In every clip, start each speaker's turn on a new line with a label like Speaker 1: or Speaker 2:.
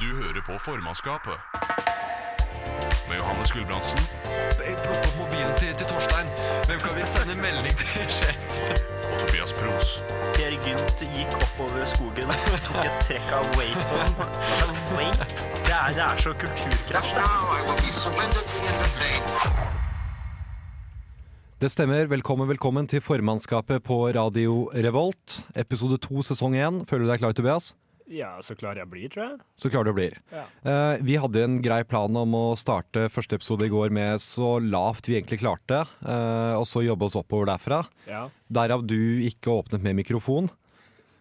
Speaker 1: Du hører på formannskapet. Med Johannes Gulbrandsen.
Speaker 2: Plukk opp mobilen til, til Torstein. Hvem kan vi sende melding til? sjef?
Speaker 1: Og Tobias Pros.
Speaker 3: Per Gynt gikk oppover skogen, tok et trekk av wakeboarden. Altså, wake? Det er, det er så kulturkrasj. det.
Speaker 4: Now I will be surrendered in the flame.
Speaker 5: Det stemmer. Velkommen, velkommen til formannskapet på Radio Revolt. Episode to, sesong én. Føler du deg klar, Tobias?
Speaker 6: Ja, så klar jeg blir, tror jeg.
Speaker 5: Så klar du blir. Eh, vi hadde en grei plan om å starte første episode i går med så lavt vi egentlig klarte, eh, og så jobbe oss oppover derfra.
Speaker 6: Ja.
Speaker 5: Derav du ikke åpnet med mikrofon.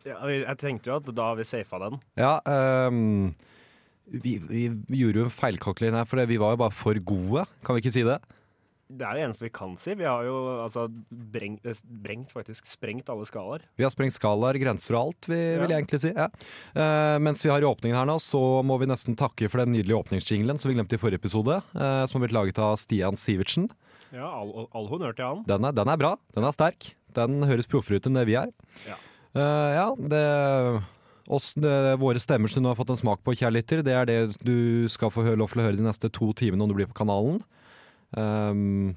Speaker 6: Ja, vi- jeg tenkte jo at da har vi safa den.
Speaker 5: Ja, ehm, vi, vi gjorde jo en feilkalkulering her, for det- vi var jo bare for gode. Kan vi ikke si det?
Speaker 6: Det er det eneste vi kan si. Vi har jo altså breng, eh, brengt, faktisk. Sprengt alle skalaer.
Speaker 5: Vi har sprengt skalaer, grenser og alt, vi, vil
Speaker 6: Ja.
Speaker 5: jeg egentlig si. Ja. Eh, mens vi har i åpningen her nå, så må vi nesten takke for den nydelige åpningsjinglen som vi glemte i forrige episode, eh, som har blitt laget av Stian Sivertsen.
Speaker 6: Ja, all, all honnør til han.
Speaker 5: Den er, den er bra, den er sterk. Den høres proffere ut enn det vi er.
Speaker 6: Ja.
Speaker 5: Eh, ja, det, oss, det, våre stemmer som du nå har fått en smak på, kjære lytter, det er det du skal få hø- lov til å høre de neste to timene om du blir på kanalen. Eh,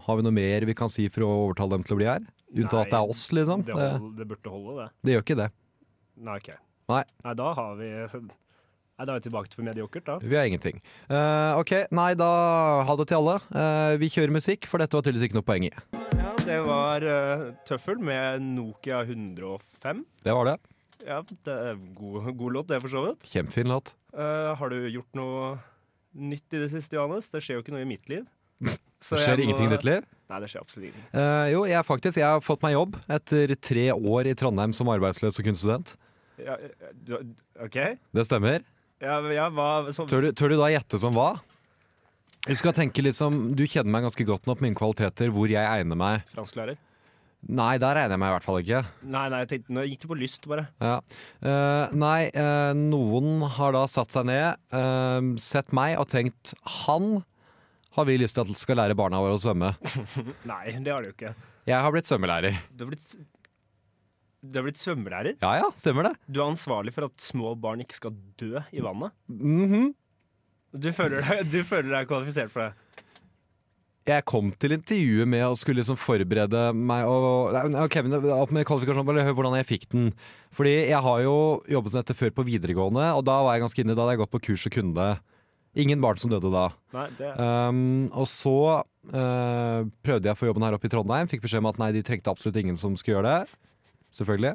Speaker 5: har vi noe mer vi kan si for å overtale dem til å bli her? Unntatt at det er oss, liksom.
Speaker 6: Det,
Speaker 5: det,
Speaker 6: hold, det burde holde, det.
Speaker 5: det gjør ikke det.
Speaker 6: Nei, OK.
Speaker 5: Nei.
Speaker 6: Nei, da har vi Nei, da er vi tilbake til mediokert, da.
Speaker 5: Vi har ingenting. Eh, ok, nei, da ha det til alle. Eh, vi kjører musikk, for dette var tydeligvis ikke noe poeng i.
Speaker 6: Ja, det var uh, Tøffel med Nokia 105.
Speaker 5: Det var det.
Speaker 6: Ja, det er god, god låt, det, for så vidt.
Speaker 5: Kjempefin låt.
Speaker 6: Eh, har du gjort noe nytt i det siste, Johannes? Det skjer jo ikke noe i mitt liv. Så
Speaker 5: Det
Speaker 6: jeg
Speaker 5: skjer
Speaker 6: må-
Speaker 5: ingenting i ditt liv?
Speaker 6: Nei, det skjer absolutt ingenting.
Speaker 5: Eh, jo, jeg, faktisk, jeg har fått meg jobb etter tre år i Trondheim som arbeidsløs og kunststudent.
Speaker 6: Ja, eh, du, OK?
Speaker 5: Det stemmer.
Speaker 6: Ja, men ja, hva så,
Speaker 5: Tør du, tør du da gjette som hva? Du skal tenke liksom, du kjenner meg ganske godt nok, mine kvaliteter, hvor jeg egner meg.
Speaker 6: Fransklærer?
Speaker 5: Nei, der egner jeg meg i hvert fall ikke.
Speaker 6: Nei, nei, jeg tenkte, nå gikk det på lyst, bare.
Speaker 5: Ja. Eh, nei, eh, noen har da satt seg ned, eh, sett meg og tenkt han har vi lyst til at skal lære barna våre å svømme.
Speaker 6: Nei, det har du jo ikke.
Speaker 5: Jeg har blitt svømmelærer.
Speaker 6: Du har blitt, s- du har blitt svømmelærer.
Speaker 5: Ja ja, stemmer det.
Speaker 6: Du er ansvarlig for at små barn ikke skal dø i vannet.
Speaker 5: Mhm.
Speaker 6: Du føler deg, du føler deg kvalifisert for det.
Speaker 5: Jeg kom til intervjuet med å skulle liksom forberede meg og Nei, Ok, men opp med kvalifikasjonen, bare hør hvordan jeg fikk den. Fordi jeg har jo jobbet som dette før på videregående, og da var jeg ganske inne. Da hadde jeg gått på kurs og kunne det. Ingen barn som døde da.
Speaker 6: Nei, det
Speaker 5: Um, og så eh, prøvde jeg å få jobben her oppe i Trondheim. Fikk beskjed om at nei, de trengte absolutt ingen som skulle gjøre det. Selvfølgelig.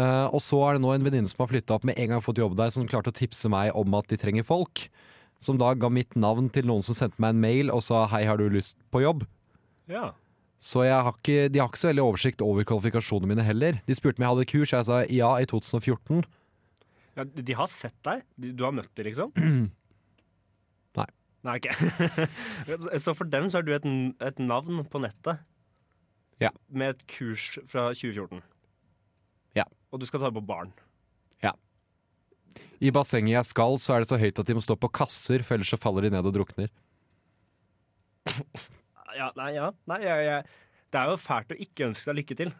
Speaker 5: Eh, og så er det nå en venninne som har flytta opp med en gang fått jobb der, som klarte å tipse meg om at de trenger folk. Som da ga mitt navn til noen som sendte meg en mail og sa hei, har du lyst på jobb?
Speaker 6: Ja.
Speaker 5: Så jeg har ikke, de har ikke så veldig oversikt over kvalifikasjonene mine heller. De spurte om jeg hadde kurs, jeg sa ja i 2014.
Speaker 6: ja de de har sett deg. Du, du har møtt dem, liksom?
Speaker 5: Nei.
Speaker 6: Nei, ok. Så- så for dem så er du et, n- et navn på nettet.
Speaker 5: Ja.
Speaker 6: Med et kurs fra 2014.
Speaker 5: Ja.
Speaker 6: Og du skal ta det på barn.
Speaker 5: I bassenget jeg skal, så er det så høyt at de må stå på kasser, for ellers så faller de ned og drukner.
Speaker 6: Ja, nei, ja. Nei, jeg, jeg. Det er jo fælt å ikke ønske deg lykke til.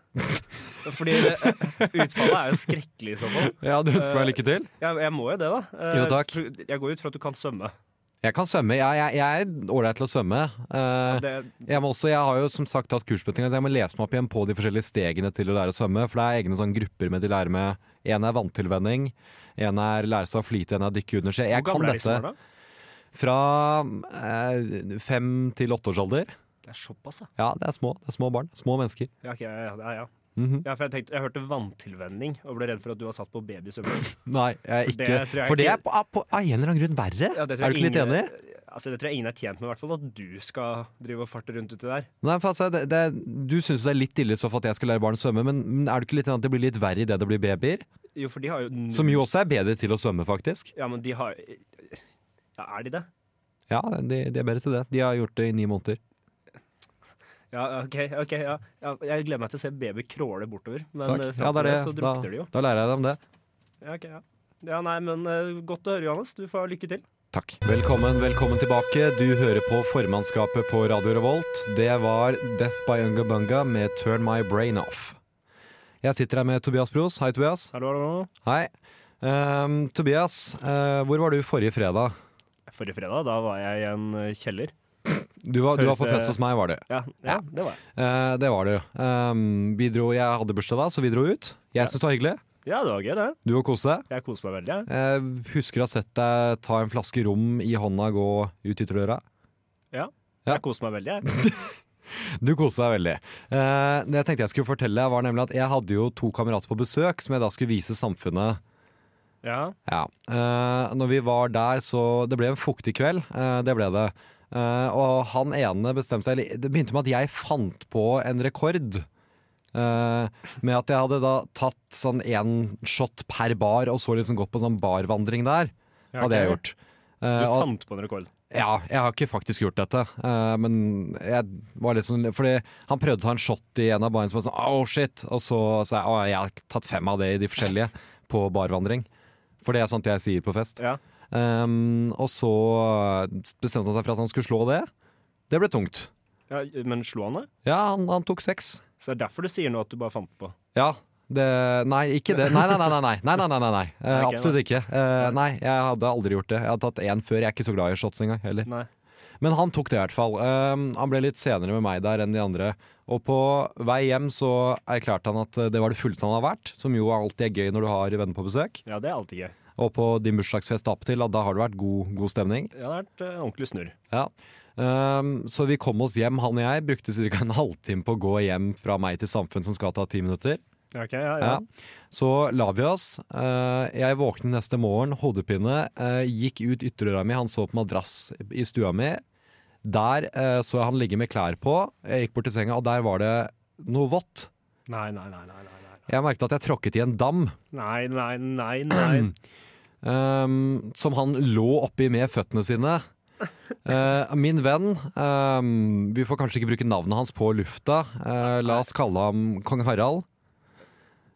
Speaker 6: Fordi det, utfallet er jo skrekkelig i så fall.
Speaker 5: Ja, du ønsker meg lykke til?
Speaker 6: Jeg, jeg må jo det, da. Eh,
Speaker 5: Jo, takk.
Speaker 6: for- Jeg går ut fra at du kan svømme.
Speaker 5: Jeg kan svømme. Jeg, jeg, jeg er ålreit til å svømme. Eh,
Speaker 6: Det,
Speaker 5: jeg, må også, jeg har jo som sagt tatt kursbetingelser, så jeg må lese meg opp igjen på de forskjellige stegene til å lære å svømme. For det er egne sånne grupper med de lærer med. En er vanntilvenning, en er lære seg å flyte, en er dykke under seg. Jeg
Speaker 6: hvor
Speaker 5: kan
Speaker 6: gamle er de som
Speaker 5: dette
Speaker 6: er da?
Speaker 5: fra eh, fem til åtteårsalder.
Speaker 6: Det er såpass, ja.
Speaker 5: Ja, det er små. Det er små barn. Små mennesker.
Speaker 6: Ja, ok, ja, ja, ja.
Speaker 5: Mhm.
Speaker 6: ja for jeg, tenkte, jeg hørte vanntilvenning og ble redd for at du var satt på babysvømming.
Speaker 5: Nei, jeg er
Speaker 6: For det
Speaker 5: ikke
Speaker 6: tror jeg
Speaker 5: For det er
Speaker 6: ikke-
Speaker 5: på, på, av en eller annen grunn verre.
Speaker 6: Ja,
Speaker 5: er
Speaker 6: det tror
Speaker 5: du
Speaker 6: jeg
Speaker 5: ikke litt
Speaker 6: ingen-
Speaker 5: enig?
Speaker 6: Altså, det tror jeg ingen er tjent med, i hvert fall at du skal drive og farte rundt uti der.
Speaker 5: Nei, for altså, det, det, du syns det er litt ille så for at jeg skal lære barn å svømme, men, men er du ikke litt enig at det blir litt verre idet det blir babyer?
Speaker 6: Jo, for de har jo null-
Speaker 5: Som jo også er bedre til å svømme, faktisk.
Speaker 6: Ja, men de har Ja, er de det?
Speaker 5: Ja, de, de er bedre til det. De har gjort det i ni måneder.
Speaker 6: Ja, OK. ok, ja. ja jeg gleder meg til å se baby kråle bortover. Men
Speaker 5: Takk.
Speaker 6: eh, fram
Speaker 5: Ja, det
Speaker 6: til
Speaker 5: er
Speaker 6: det,
Speaker 5: det.
Speaker 6: så
Speaker 5: Da,
Speaker 6: drukner de jo.
Speaker 5: da lærer jeg dem det.
Speaker 6: Ja, ok, ja. ja, nei, men eh, godt å høre, Johannes. Du får ha lykke til.
Speaker 5: Takk. Velkommen, velkommen tilbake. Du hører på formannskapet på Radio Revolt. Det var Death by Ungabunga med Turn My Brain Off. Jeg sitter her med Tobias Pros. Hei, Tobias.
Speaker 6: Hallo, hallo.
Speaker 5: Hei. Ehm, Tobias, eh, hvor var du forrige fredag?
Speaker 6: Forrige fredag da var jeg i en eh, kjeller.
Speaker 5: Du var, du var på
Speaker 6: Høres det-
Speaker 5: fest hos meg, var du.
Speaker 6: Ja, ja, det var jeg.
Speaker 5: Eh, det var du. Ehm, vi dro, jeg hadde bursdag da, så vi dro ut. Jeg syntes det var hyggelig.
Speaker 6: Ja, det var gøy, det.
Speaker 5: Du og kose deg.
Speaker 6: Jeg koste meg veldig. jeg.
Speaker 5: Jeg Eh, husker å ha sett deg ta en flaske rom i hånda og gå ut ytterdøra. Ja.
Speaker 6: Jeg koste meg veldig. Jeg.
Speaker 5: Du koste deg veldig. Eh, det jeg tenkte jeg skulle fortelle, var nemlig at jeg hadde jo to kamerater på besøk som jeg da skulle vise samfunnet.
Speaker 6: Ja.
Speaker 5: Ja. Eh, når vi var der, så Det ble en fuktig kveld. Eh, det ble det. Eh, og han ene bestemte seg eller, Det begynte med at jeg fant på en rekord. eh, med at jeg hadde da tatt sånn én shot per bar, og så liksom gått på sånn barvandring der. Hadde jeg gjort. Eh,
Speaker 6: Du
Speaker 5: og-
Speaker 6: fant på en rekord.
Speaker 5: Ja, jeg har ikke faktisk gjort dette, eh, men jeg var litt sånn Fordi han prøvde å ta en shot i en av barene som var sånn Oh, shit! Og så sa jeg å, jeg har tatt fem av det i de forskjellige på barvandring. For det er sånt jeg sier på fest.
Speaker 6: Ja.
Speaker 5: Ehm, og så bestemte han seg for at han skulle slå det. Det ble tungt.
Speaker 6: Ja, men slo han det?
Speaker 5: Ja, han, han tok seks.
Speaker 6: Så det er derfor du sier nå at du bare fant på.
Speaker 5: Ja. Det, nei, ikke det. Nei, nei, nei. nei, nei, nei, nei, nei, nei, nei. Eh,
Speaker 6: Ok,
Speaker 5: Absolutt ikke. Eh, nei, jeg hadde aldri gjort det. Jeg hadde tatt én før. Jeg er ikke så glad i shots engang. heller.
Speaker 6: Nei.
Speaker 5: Men han tok det i hvert fall. Um, han ble litt senere med meg der enn de andre. Og på vei hjem så erklærte han at uh, det var det fulleste han har vært, som jo alltid er gøy når du har venner på besøk.
Speaker 6: Ja, det er alltid gøy.
Speaker 5: Og på din bursdagsfest apptil, at da har det vært god, god stemning.
Speaker 6: Det har vært eh, ordentlig snurr.
Speaker 5: Ja. Um, så vi kom oss hjem, han og jeg. Brukte ca. en halvtime på å gå hjem fra meg til Samfunn, som skal ta ti minutter. Ja. Så la vi oss. Eh, jeg våknet neste morgen, hodepine. eh, gikk ut ytterdøra mi, han så på madrass i stua mi. Der eh, så jeg han ligge med klær på. Jeg gikk bort til senga, og der var det noe vått.
Speaker 6: Nei, nei, nei, nei, nei, nei.
Speaker 5: Jeg merket at jeg tråkket i en dam
Speaker 6: Nei, nei, nei, nei.
Speaker 5: ehm, som han lå oppi med føttene sine. Eh, min venn ehm, Vi får kanskje ikke bruke navnet hans på lufta. Eh, la oss kalle ham kong Harald.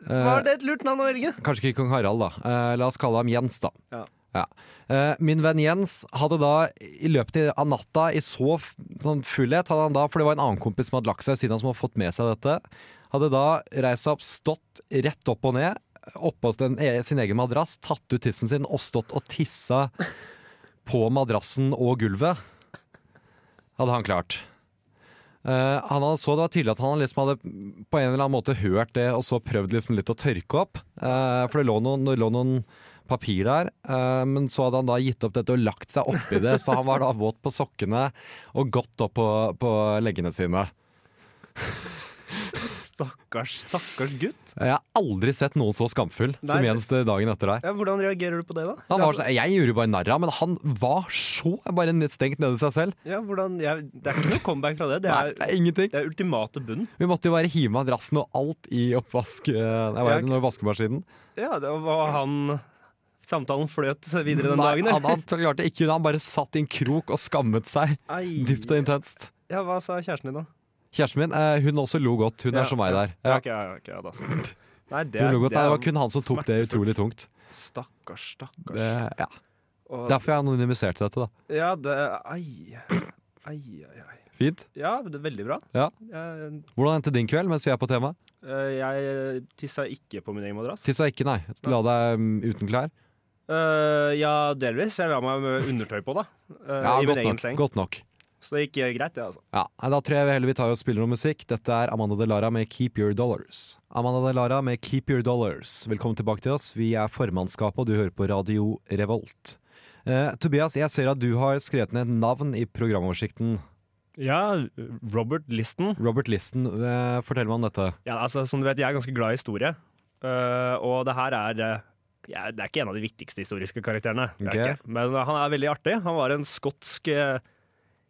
Speaker 5: Eh,
Speaker 6: det et lurt navn å velge?
Speaker 5: Kanskje ikke kong Harald, da. Eh, la oss kalle ham Jens, da.
Speaker 6: Ja.
Speaker 5: Ja. Eh, min venn Jens hadde da i løpet av natta, i så f- sånn fullhet, hadde han da, for det var en annen kompis som hadde lagt seg siden han som hadde fått med seg dette, hadde da reist seg opp, stått rett opp og ned, oppå sin, e- sin egen madrass, tatt ut tissen sin og stått og tissa på madrassen og gulvet. Hadde han klart. Eh, han hadde, så det var tydelig at han liksom hadde på en eller annen måte hørt det, og så prøvd liksom litt å tørke opp. Eh, for det lå noen, det lå noen papir der. Eh, men så hadde han da gitt opp dette og lagt seg oppi det, så han var da våt på sokkene og godt opp på, på leggene sine.
Speaker 6: Stakkars, stakkars gutt.
Speaker 5: Jeg har aldri sett noen så skamfull som
Speaker 6: Nei.
Speaker 5: Jens det dagen etter der.
Speaker 6: Ja, hvordan reagerer du på det, da? Altså,
Speaker 5: Han var så, jeg gjorde jo bare narr av, men han var så bare ned- stengt nede i seg selv.
Speaker 6: Ja, hvordan, jeg, det er ikke noe comeback fra det. Det
Speaker 5: Nei,
Speaker 6: er,
Speaker 5: det er ingenting.
Speaker 6: det er ultimate bunn.
Speaker 5: Vi måtte jo bare hive madrassen og alt i oppvask... eh, Nei, hva
Speaker 6: Ja,
Speaker 5: er det, når vaskemaskinen?
Speaker 6: Ja, det var han Samtalen fløt videre den
Speaker 5: Nei,
Speaker 6: dagen,
Speaker 5: han, han klarte ikke det. Han bare satt i en krok og skammet seg
Speaker 6: Ei.
Speaker 5: dypt og intenst.
Speaker 6: Ja, hva sa kjæresten din, da?
Speaker 5: Kjæresten min eh, hun også lo godt. Hun
Speaker 6: Ja,
Speaker 5: er som meg der.
Speaker 6: Ja,
Speaker 5: Ja.
Speaker 6: ok, ja, ok, ja da. så. Nei, det
Speaker 5: Hun
Speaker 6: er,
Speaker 5: lo godt.
Speaker 6: det
Speaker 5: Nei,
Speaker 6: er
Speaker 5: det var kun han som tok det
Speaker 6: smertefullt.
Speaker 5: utrolig tungt.
Speaker 6: Stakkars, stakkars.
Speaker 5: Det, ja.
Speaker 6: Og-
Speaker 5: Derfor jeg anonymiserte dette. da
Speaker 6: Ja, det Ai. Ai, ai, ai.
Speaker 5: Fint.
Speaker 6: Ja, det er veldig bra.
Speaker 5: Ja.
Speaker 6: Jeg,
Speaker 5: Hvordan endte din kveld mens vi er på tema?
Speaker 6: eh, jeg tissa ikke på min egen madrass.
Speaker 5: Tissa ikke, nei. La deg mm, uten klær.
Speaker 6: Eh, ja, delvis. Jeg la meg med undertøy på, da. eh,
Speaker 5: Ja,
Speaker 6: I min
Speaker 5: godt
Speaker 6: egen
Speaker 5: nok.
Speaker 6: seng.
Speaker 5: Godt nok.
Speaker 6: Så det gikk eh, greit, det, altså.
Speaker 5: Ja, nei, Da tror jeg heller vi tar og spiller noe musikk. Dette er Amanda Delara med 'Keep Your Dollars'. Amanda Delara med 'Keep Your Dollars'. Velkommen tilbake til oss. Vi er formannskapet, og du hører på Radio Revolt. Eh, Tobias, jeg ser at du har skrevet ned et navn i programoversikten.
Speaker 6: Ja, Robert Liston.
Speaker 5: Robert Listen, eh, fortell meg om dette.
Speaker 6: Ja, altså, som du vet, jeg er ganske glad i historie. Eh, og det her er eh, ja, Det er ikke en av de viktigste historiske karakterene. Det er
Speaker 5: Ok.
Speaker 6: ikke. Men eh, han er veldig artig. Han var en skotsk eh,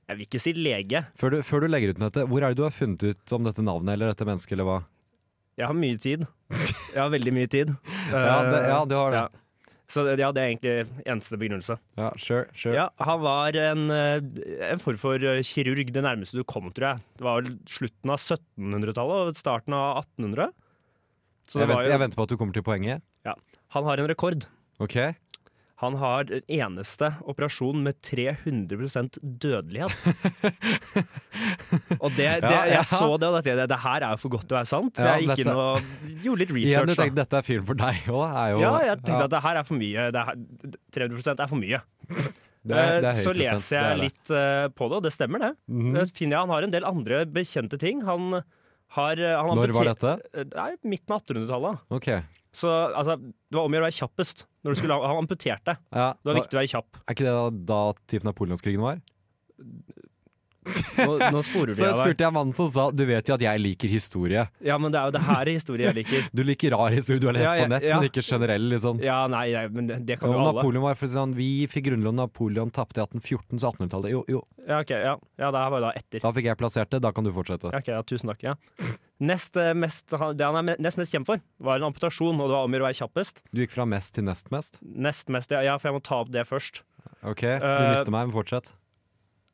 Speaker 6: Jeg vil ikke si lege.
Speaker 5: Før du, før du legger ut dette, hvor er det du har funnet ut om dette navnet eller dette mennesket, eller hva?
Speaker 6: Jeg har mye tid. Jeg har veldig mye tid.
Speaker 5: Ja, det,
Speaker 6: Eh,
Speaker 5: ja du har det.
Speaker 6: ja. Så ja, det er egentlig eneste begrunnelse.
Speaker 5: Ja, sure, sure.
Speaker 6: Ja, han var en, eh, en form for eh, kirurg, det nærmeste du kom, tror jeg. Det var vel slutten av 1700-tallet og starten av 1800. Så
Speaker 5: jeg,
Speaker 6: det var
Speaker 5: venter, jeg
Speaker 6: jo,
Speaker 5: venter på at du kommer til poenget.
Speaker 6: han har en rekord.
Speaker 5: Ok.
Speaker 6: Han har den eneste operasjon med 300 dødelighet. og det, det,
Speaker 5: Ja, ja.
Speaker 6: jeg så det, og det, det, det her er jo for godt til å være sant. Så
Speaker 5: Ja,
Speaker 6: jeg gikk
Speaker 5: dette-
Speaker 6: inn og gjorde litt
Speaker 5: Igjen,
Speaker 6: research.
Speaker 5: du tenkte
Speaker 6: da.
Speaker 5: dette er film for deg òg, er jo
Speaker 6: Ja, jeg tenkte
Speaker 5: Ja,
Speaker 6: at det her er for mye. Det her, 300 er for mye. Eh,
Speaker 5: det er- det er høy
Speaker 6: så
Speaker 5: prosent,
Speaker 6: leser
Speaker 5: det Mm.
Speaker 6: jeg
Speaker 5: er det.
Speaker 6: litt eh, på det, og det stemmer det.
Speaker 5: mhm.
Speaker 6: Eh, finner jeg Han har en del andre bekjente ting. Han har, han har
Speaker 5: Når var
Speaker 6: bete-
Speaker 5: dette?
Speaker 6: Eh, Nei, Midten av 1800-tallet.
Speaker 5: Ok.
Speaker 6: Så altså, det var om å gjøre å være kjappest. Når du skulle, ha- han amputerte.
Speaker 5: Ja.
Speaker 6: Det var viktig å være kjapp.
Speaker 5: Er ikke det da, da typ Napoleonskrigen var?
Speaker 6: Nå, nå sporer du
Speaker 5: Så jeg
Speaker 6: av deg.
Speaker 5: spurte jeg mannen som sa du vet jo at jeg liker historie.
Speaker 6: Ja, men det er jo det her historie jeg liker.
Speaker 5: Du liker rar historie du har lest
Speaker 6: Ja, ja,
Speaker 5: på nett,
Speaker 6: ja.
Speaker 5: men ikke generell. liksom.
Speaker 6: Ja, nei, nei men det, det kan
Speaker 5: Jo,
Speaker 6: jo alle.
Speaker 5: Napoleon var for sånn, Vi fikk grunnlov da Napoleon tapte i 1814, så 1800-tallet Jo, jo,
Speaker 6: Ja, ok, ja. ja, det her var jo da etter.
Speaker 5: da fikk jeg plassert det. Da kan du fortsette.
Speaker 6: Ja, ok, ja, tusen takk. Ja. Nest, eh, mest, han- det han er me- nest mest kjent for, var en amputasjon, og det var om å gjøre å være kjappest.
Speaker 5: Du gikk fra mest til nest mest.
Speaker 6: Nest mest, ja, ja, for jeg må ta opp det først.
Speaker 5: Ok, du
Speaker 6: Eh,
Speaker 5: mister meg, men fortsett.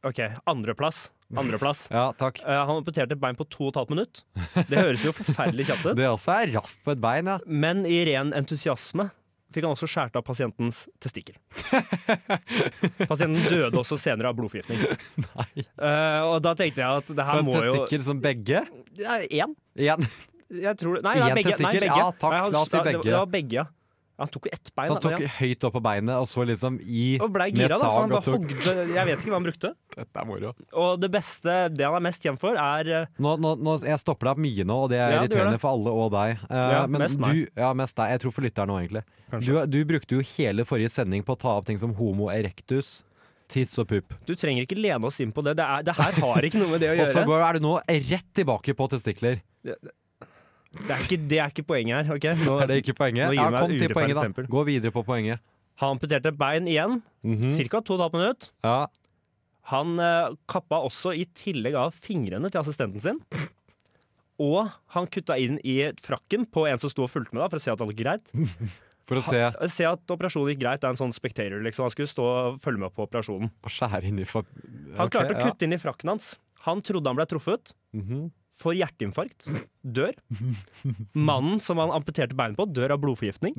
Speaker 6: Ok, andreplass. Andreplass.
Speaker 5: Ja, takk.
Speaker 6: Eh, han amputerte et bein på to og et halvt minutt. Det høres jo forferdelig kjapt ut.
Speaker 5: Det også er raskt på et bein, ja.
Speaker 6: Men i ren entusiasme fikk han også skåret av pasientens testikkel. Pasienten døde også senere av blodforgiftning. Eh, og da tenkte jeg at det her
Speaker 5: Men
Speaker 6: må jo
Speaker 5: testikkel som begge?
Speaker 6: Ja, Én?
Speaker 5: Igjen.
Speaker 6: Jeg tror det. Nei, det
Speaker 5: Én
Speaker 6: er begge. Nei,
Speaker 5: testikkel?
Speaker 6: begge.
Speaker 5: Ja, takk,
Speaker 6: han-
Speaker 5: la oss si
Speaker 6: ja, det-
Speaker 5: begge.
Speaker 6: Det var begge, ja. Han tok jo ett bein.
Speaker 5: Så han
Speaker 6: da,
Speaker 5: tok
Speaker 6: ja.
Speaker 5: høyt opp på beinet, og så liksom i
Speaker 6: og blei
Speaker 5: med
Speaker 6: gira, da, så
Speaker 5: sag
Speaker 6: han bare
Speaker 5: og tok-
Speaker 6: hogde Jeg vet ikke hva han brukte.
Speaker 5: Dette er moro.
Speaker 6: Og det beste, det han er mest kjent for, er eh,
Speaker 5: Nå, nå, nå, jeg stopper deg opp mye nå, og det er
Speaker 6: Ja, du gjør
Speaker 5: irriterende
Speaker 6: det.
Speaker 5: for alle og deg. Eh,
Speaker 6: Ja,
Speaker 5: men
Speaker 6: mest meg.
Speaker 5: Du, ja, mest deg. Jeg tror for lytteren òg, egentlig. Du, du brukte jo hele forrige sending på å ta opp ting som homo erectus, tiss og pupp.
Speaker 6: Du trenger ikke lene oss inn på det. Det, er, det her har ikke noe med det å
Speaker 5: Og så
Speaker 6: gjøre.
Speaker 5: går- er du nå rett tilbake på testikler.
Speaker 6: Det er ikke, det er ikke poenget her. ok? Nå,
Speaker 5: Er det ikke poenget?
Speaker 6: nå gir
Speaker 5: Ja,
Speaker 6: du meg
Speaker 5: kom
Speaker 6: et
Speaker 5: til
Speaker 6: urettferdig
Speaker 5: poenget, da.
Speaker 6: stempel.
Speaker 5: Gå videre på poenget.
Speaker 6: Han amputerte bein igjen,
Speaker 5: Mhm.
Speaker 6: ca. 2 12 minutter.
Speaker 5: Ja,
Speaker 6: Han eh, kappa også i tillegg av fingrene til assistenten sin. Og han kutta inn i frakken på en som sto og fulgte med, da, for å se at alt gikk greit.
Speaker 5: for å se
Speaker 6: Han- Se at operasjonen gikk greit. Det er en sånn spectator, liksom. Han skulle stå og følge med på operasjonen.
Speaker 5: å skjære inn i fa...
Speaker 6: Han
Speaker 5: Ok,
Speaker 6: klarte å
Speaker 5: ja.
Speaker 6: kutte inn i frakken hans. Han trodde han ble truffet.
Speaker 5: Mhm.
Speaker 6: Får hjerteinfarkt. Dør. Mannen som han amputerte beinet på, dør av blodforgiftning.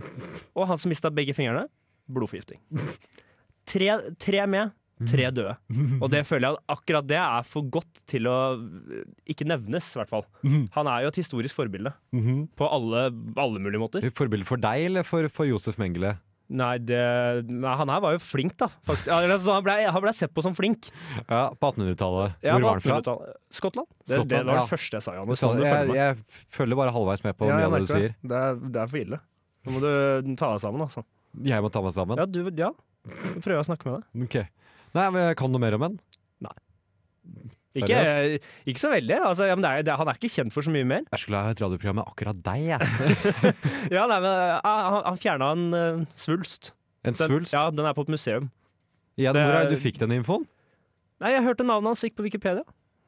Speaker 6: Og han som mista begge fingrene, blodforgiftning. Tre, tre med, tre døde. Og det føler jeg at akkurat det er for godt til å eh, ikke nevnes, i hvert fall.
Speaker 5: Mhm.
Speaker 6: Han er jo et historisk forbilde. På alle, alle mulige måter.
Speaker 5: Forbilde for deg eller for, for Josef Mengele?
Speaker 6: Nei, det, nei, han her var jo flink, da. Fakt, Ja, altså, han blei ble sett på som flink.
Speaker 5: Ja, på 1800-tallet. Hvor
Speaker 6: Ja, på
Speaker 5: var han fra?
Speaker 6: 1800-tallet. Skottland. Det,
Speaker 5: Skottland,
Speaker 6: det var
Speaker 5: ja.
Speaker 6: det første jeg sa, Johannes.
Speaker 5: Så
Speaker 6: Nå må du følge
Speaker 5: jeg,
Speaker 6: meg.
Speaker 5: jeg følger bare halvveis med på
Speaker 6: Ja,
Speaker 5: mye
Speaker 6: jeg
Speaker 5: av det du
Speaker 6: merker
Speaker 5: sier.
Speaker 6: det. Det er, det er for ille. Nå må du ta deg sammen, altså.
Speaker 5: Jeg må ta meg sammen.
Speaker 6: Ja, du, ja. Prøver å snakke med deg.
Speaker 5: Ok. Nei, men jeg kan noe mer om den.
Speaker 6: Ikke, ikke så veldig. Altså, ja, men det er, det, han er ikke kjent for så mye mer.
Speaker 5: Jeg skulle ha et radioprogram med akkurat deg, jeg.
Speaker 6: Ja, nei, men, eh, han, han fjerna en eh, svulst.
Speaker 5: En
Speaker 6: Den,
Speaker 5: svulst.
Speaker 6: Ja, Den er på et museum.
Speaker 5: Igjen,
Speaker 6: det
Speaker 5: hvor er det
Speaker 6: er-
Speaker 5: du fikk den infoen?
Speaker 6: Nei, jeg hørte navnet hans, gikk på Wikipedia.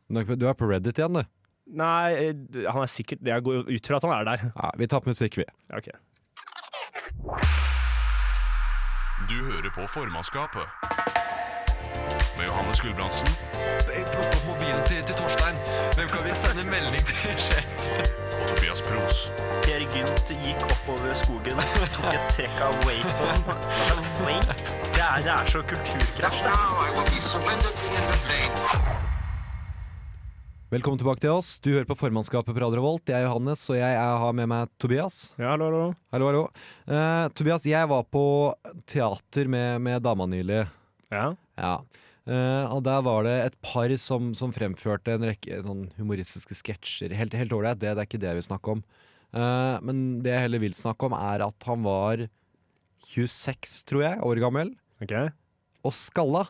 Speaker 5: Du er på Reddit igjen, du.
Speaker 6: Nei, eh, han er sikkert Jeg går ut fra at han er der.
Speaker 5: Ja, vi tar på musikk, vi.
Speaker 6: Ja, ok.
Speaker 1: Du hører på formannskapet. Med Johannes Gulbrandsen
Speaker 2: Plukk opp mobilen til, til Torstein. Hvem kan vi sende melding til? sjef?
Speaker 1: og Tobias Pros.
Speaker 3: Per Gynt gikk oppover skogen, tok et trekk av wakeboarden. Altså, wake, det er, det er så kulturkrasj.
Speaker 4: Just now I will be surrendered in the flame.
Speaker 5: Velkommen tilbake til oss. Du hører på formannskapet på Radio Revolt. Jeg er Johannes, og jeg, er- har med meg Tobias.
Speaker 6: Ja, hallo, hallo.
Speaker 5: Hallo, hallo. Eh, Tobias, jeg var på teater med, med dama nylig.
Speaker 6: Ja.
Speaker 5: Ja. Eh, og der var det et par som, som fremførte en rekke sånn humoristiske sketsjer. Helt helt ålreit, det, det er ikke det vi snakker om. Eh, men det jeg heller vil snakke om, er at han var 26, tror jeg, år gammel,
Speaker 6: OK.
Speaker 5: og skalla.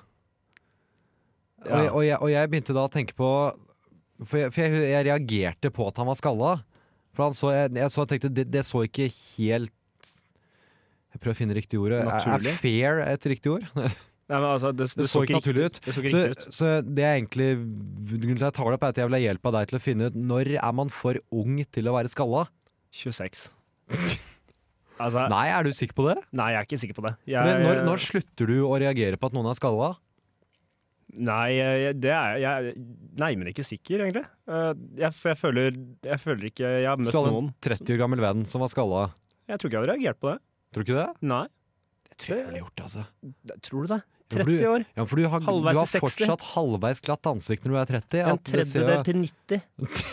Speaker 6: Ja.
Speaker 5: Og, jeg- og, jeg, og jeg begynte da å tenke på For, jeg, for jeg, jeg reagerte på at han var skalla. For han så, jeg, jeg, så, jeg tenkte det, det så ikke helt Jeg prøver å finne riktig ordet. Er, er
Speaker 6: Naturlig.
Speaker 5: fair et riktig ord?
Speaker 6: Nei, men altså, det,
Speaker 5: Det, så ikke naturlig ut.
Speaker 6: riktig- Det så ikke
Speaker 5: så,
Speaker 6: riktig ut.
Speaker 5: så det er egentlig grunnen til at jeg tar det opp, er at jeg vil ha hjelp av deg til å finne ut når er man for ung til å være skalla.
Speaker 6: 26. Altså, nei.
Speaker 5: Nei, er du sikker på det?
Speaker 6: jeg er ikke sikker på det.
Speaker 5: Eller
Speaker 6: Jeg,
Speaker 5: når, når slutter du å reagere på at noen er skalla?
Speaker 6: Nei, jeg- det er jeg er nærmere ikke sikker, egentlig. Eh, Jeg, for jeg, føler, jeg føler ikke Jeg har
Speaker 5: Hvis
Speaker 6: møtt
Speaker 5: du hadde
Speaker 6: noen.
Speaker 5: en 30 år gammel venn som var skalla,
Speaker 6: Jeg tror ikke jeg hadde reagert på det.
Speaker 5: tror du ikke det?
Speaker 6: Nei.
Speaker 5: Jeg tror jeg ville gjort det, altså.
Speaker 6: Tror du det?
Speaker 5: Ja, for du-
Speaker 6: 30 år.
Speaker 5: Ja, for du har, du
Speaker 6: Halvveis
Speaker 5: har
Speaker 6: i 60.
Speaker 5: fortsatt halvveis glatt ansikt når du er 30.
Speaker 6: En
Speaker 5: at det, ser,
Speaker 6: tredjedel
Speaker 5: jo-
Speaker 6: til 90.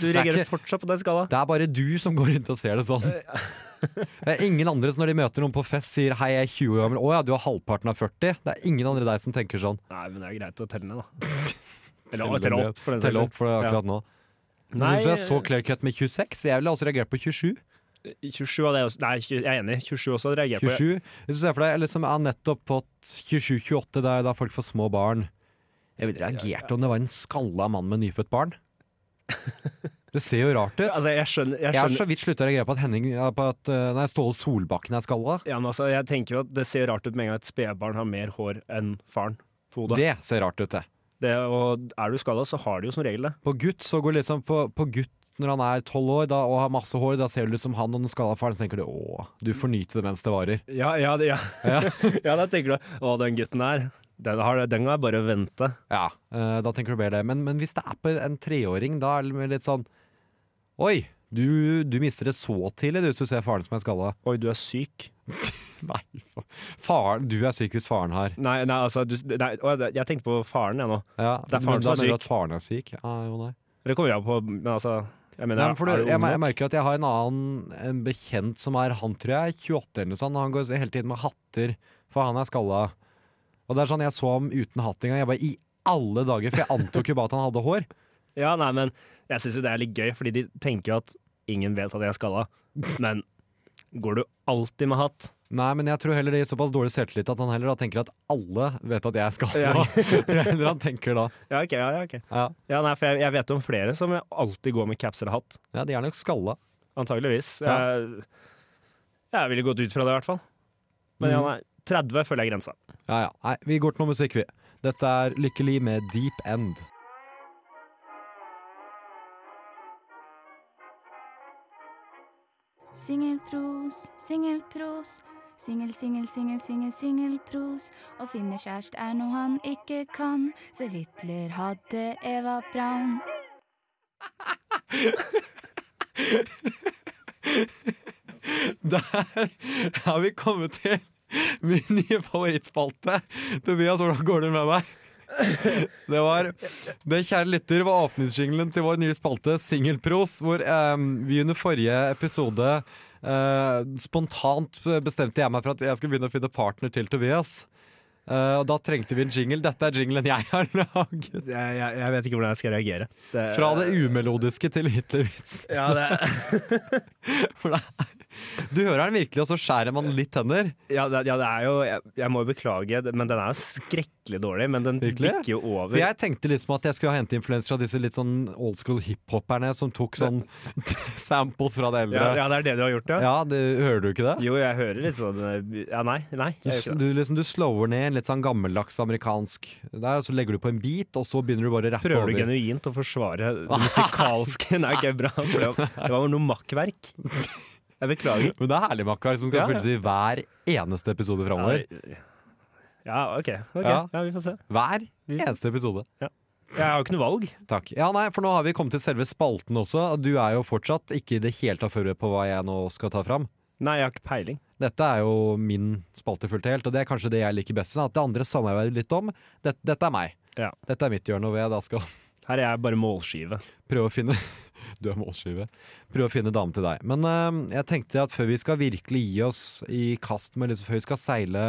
Speaker 6: Du
Speaker 5: er
Speaker 6: reagerer
Speaker 5: ikke-
Speaker 6: fortsatt på den skala.
Speaker 5: det er bare du som går rundt og ser det sånn.
Speaker 6: Øh,
Speaker 5: Det er ingen andre som når de møter noen på fest sier 'hei, jeg er 20 år gammel', 'å ja, du har halvparten av 40'. Det er ingen andre deg som tenker sånn.
Speaker 6: Nei, men det er greit å telle ned, da.
Speaker 5: Telle
Speaker 6: Eller telle
Speaker 5: ned.
Speaker 6: opp, for den
Speaker 5: Tell opp
Speaker 6: saks
Speaker 5: for det akkurat nå. Du
Speaker 6: Nei,
Speaker 5: syns du er så clear cut med 26? For jeg ville også reagert på 27.
Speaker 6: skyld. 27 hadde jeg også Nei, tjue- jeg er enig. 27 også hadde reagert på.
Speaker 5: 27. Hvis du ser for deg liksom, jeg har nettopp fått 27-28, det er da folk får små barn. Jeg ville reagert om det var en skalla mann med nyfødt barn. Det ser jo rart ut.
Speaker 6: Altså, jeg skjønner, jeg
Speaker 5: Jeg har
Speaker 6: skjønner.
Speaker 5: så vidt slutta å reagere på at, Henning, ja, på at eh, nei, Ståle Solbakken er skalla.
Speaker 6: Ja, men altså, jeg tenker jo at Det ser rart ut med en gang et spedbarn har mer hår enn faren på hodet.
Speaker 5: Det ser rart ut, det.
Speaker 6: Det, og er du skada, så har de jo som regel det.
Speaker 5: På gutt så går liksom på, på gutt når han er tolv år da, og har masse hår, da ser du liksom han og den skalla faren, så tenker du å, du får nyte det mens det varer.
Speaker 6: Ja, ja, det- ja.
Speaker 5: Ja.
Speaker 6: ja da tenker du Å, den gutten her, den, har, den kan jeg bare vente.
Speaker 5: Ja, eh, da tenker du mer det. Men, men hvis det er på en treåring, da er det litt sånn Oi, du, du mister det så tidlig, du, hvis du ser faren som er skalla.
Speaker 6: Oi, du er syk.
Speaker 5: Nei, fa- faren, du er syk hvis faren har
Speaker 6: Nei, nei altså du, nei, å, jeg- Jeg tenkte på faren, jeg nå.
Speaker 5: ja,
Speaker 6: Det er faren
Speaker 5: men
Speaker 6: som er
Speaker 5: da mener du
Speaker 6: syk.
Speaker 5: At faren er syk. Ja, jo, nei.
Speaker 6: Det kommer jeg på, men altså Jeg mener,
Speaker 5: Nei, men for
Speaker 6: er
Speaker 5: du,
Speaker 6: du
Speaker 5: jeg,
Speaker 6: ung
Speaker 5: mer- jeg
Speaker 6: nok?
Speaker 5: merker at jeg har en annen en bekjent som er han, tror jeg, er 28 eller noe sånt. og Han går hele tiden med hatter, for han er skalla. Og det er sånn, Jeg så ham uten hatt engang. Jeg bare I alle dager! For jeg antok jo bare at han hadde hår.
Speaker 6: Ja, nei, men jeg syns jo det er litt gøy, fordi de tenker jo at ingen vet at jeg er skalla. Men går du alltid med hatt?
Speaker 5: Nei, men jeg tror heller det gir såpass dårlig selvtillit at han heller da tenker at alle vet at jeg er skalla.
Speaker 6: Ja.
Speaker 5: tror jeg heller han tenker da.
Speaker 6: Ja, ok, ja, ja, ok.
Speaker 5: Ja,
Speaker 6: Ja, nei, for jeg, jeg vet om flere som alltid går med caps eller hatt.
Speaker 5: ja de er nok skalla.
Speaker 6: Antageligvis.
Speaker 5: Ja.
Speaker 6: Jeg, jeg ville gått ut fra det, i hvert fall. Men ja, nei. 30 føler jeg grensa.
Speaker 5: Ja, ja. Nei, vi går til noe musikk, vi. Dette er Lykkelig med Deep End.
Speaker 7: Singelpros, singelpros. Singel, singel, singel, singel, singelpros. Å finne kjæreste er noe han ikke kan, så Hitler hadde Eva Braun.
Speaker 5: Der har vi kommet til min nye favorittspalte. Tobias, hvordan går det med deg? Det var Det kjære lytter var åpningsjinglen til vår nye spalte Singelpros, hvor em, vi under forrige episode eh, spontant bestemte jeg meg for at jeg skulle begynne å finne partner til Tobias. Eh, og da trengte vi en jingle. Dette er jinglen jeg har laget.
Speaker 6: Jeg, jeg, jeg vet ikke hvordan jeg skal reagere. Det-
Speaker 5: Fra det umelodiske til Hitler-vits.
Speaker 6: ja, det,
Speaker 5: For det er- Du hører den virkelig, og så skjærer man litt tenner.
Speaker 6: ja, det, ja, det er jo jeg, jeg må jo beklage, det- men den er jo skrekkelig dårlig. Men den
Speaker 5: Virkelig?
Speaker 6: bikker jo over.
Speaker 5: For jeg tenkte liksom at jeg skulle hente influenser av disse litt sånn old school hiphoperne som tok sånn samples fra det eldre. Ja,
Speaker 6: ja, ja, det er det du har gjort, ja?
Speaker 5: det, hører du ikke det?
Speaker 6: Jo, jeg hører litt sånn eh, Ja, nei. nei
Speaker 5: Du,
Speaker 6: jeg gjør ikke det.
Speaker 5: du, liksom, du slower ned en litt sånn gammeldags amerikansk der, og så legger du på en beat, og så begynner du bare å rappe
Speaker 6: Prøver du
Speaker 5: over.
Speaker 6: genuint å forsvare det musikalske Nei, ok, bra. Det var- det var noe makkverk. Jeg beklager.
Speaker 5: Men det er herlig, Makkar, som skal
Speaker 6: Ja, ja.
Speaker 5: spilles i hver eneste episode framover.
Speaker 6: Ja, OK. ok.
Speaker 5: Ja.
Speaker 6: Ja. vi får se.
Speaker 5: Hver
Speaker 6: Mm.
Speaker 5: eneste episode.
Speaker 6: Jeg har jo ikke noe valg.
Speaker 5: Takk. Ja, nei, for nå har vi kommet til selve spalten også, og du er jo fortsatt ikke i det hele tatt forberedt på hva jeg nå skal ta fram.
Speaker 6: Nei, jeg har ikke peiling.
Speaker 5: Dette er jo min spalte fullt og helt, og det er kanskje det jeg liker best. sånn At det andre samarbeider litt om. Dette, dette er meg.
Speaker 6: Ja.
Speaker 5: Dette er mitt hjørne, og hvor jeg da skal
Speaker 6: Her er jeg bare målskive.
Speaker 5: prøve å finne Du er målskive. Prøve å finne dame til deg. Men eh, jeg tenkte at før vi skal virkelig gi oss i kast med liksom, Før vi skal seile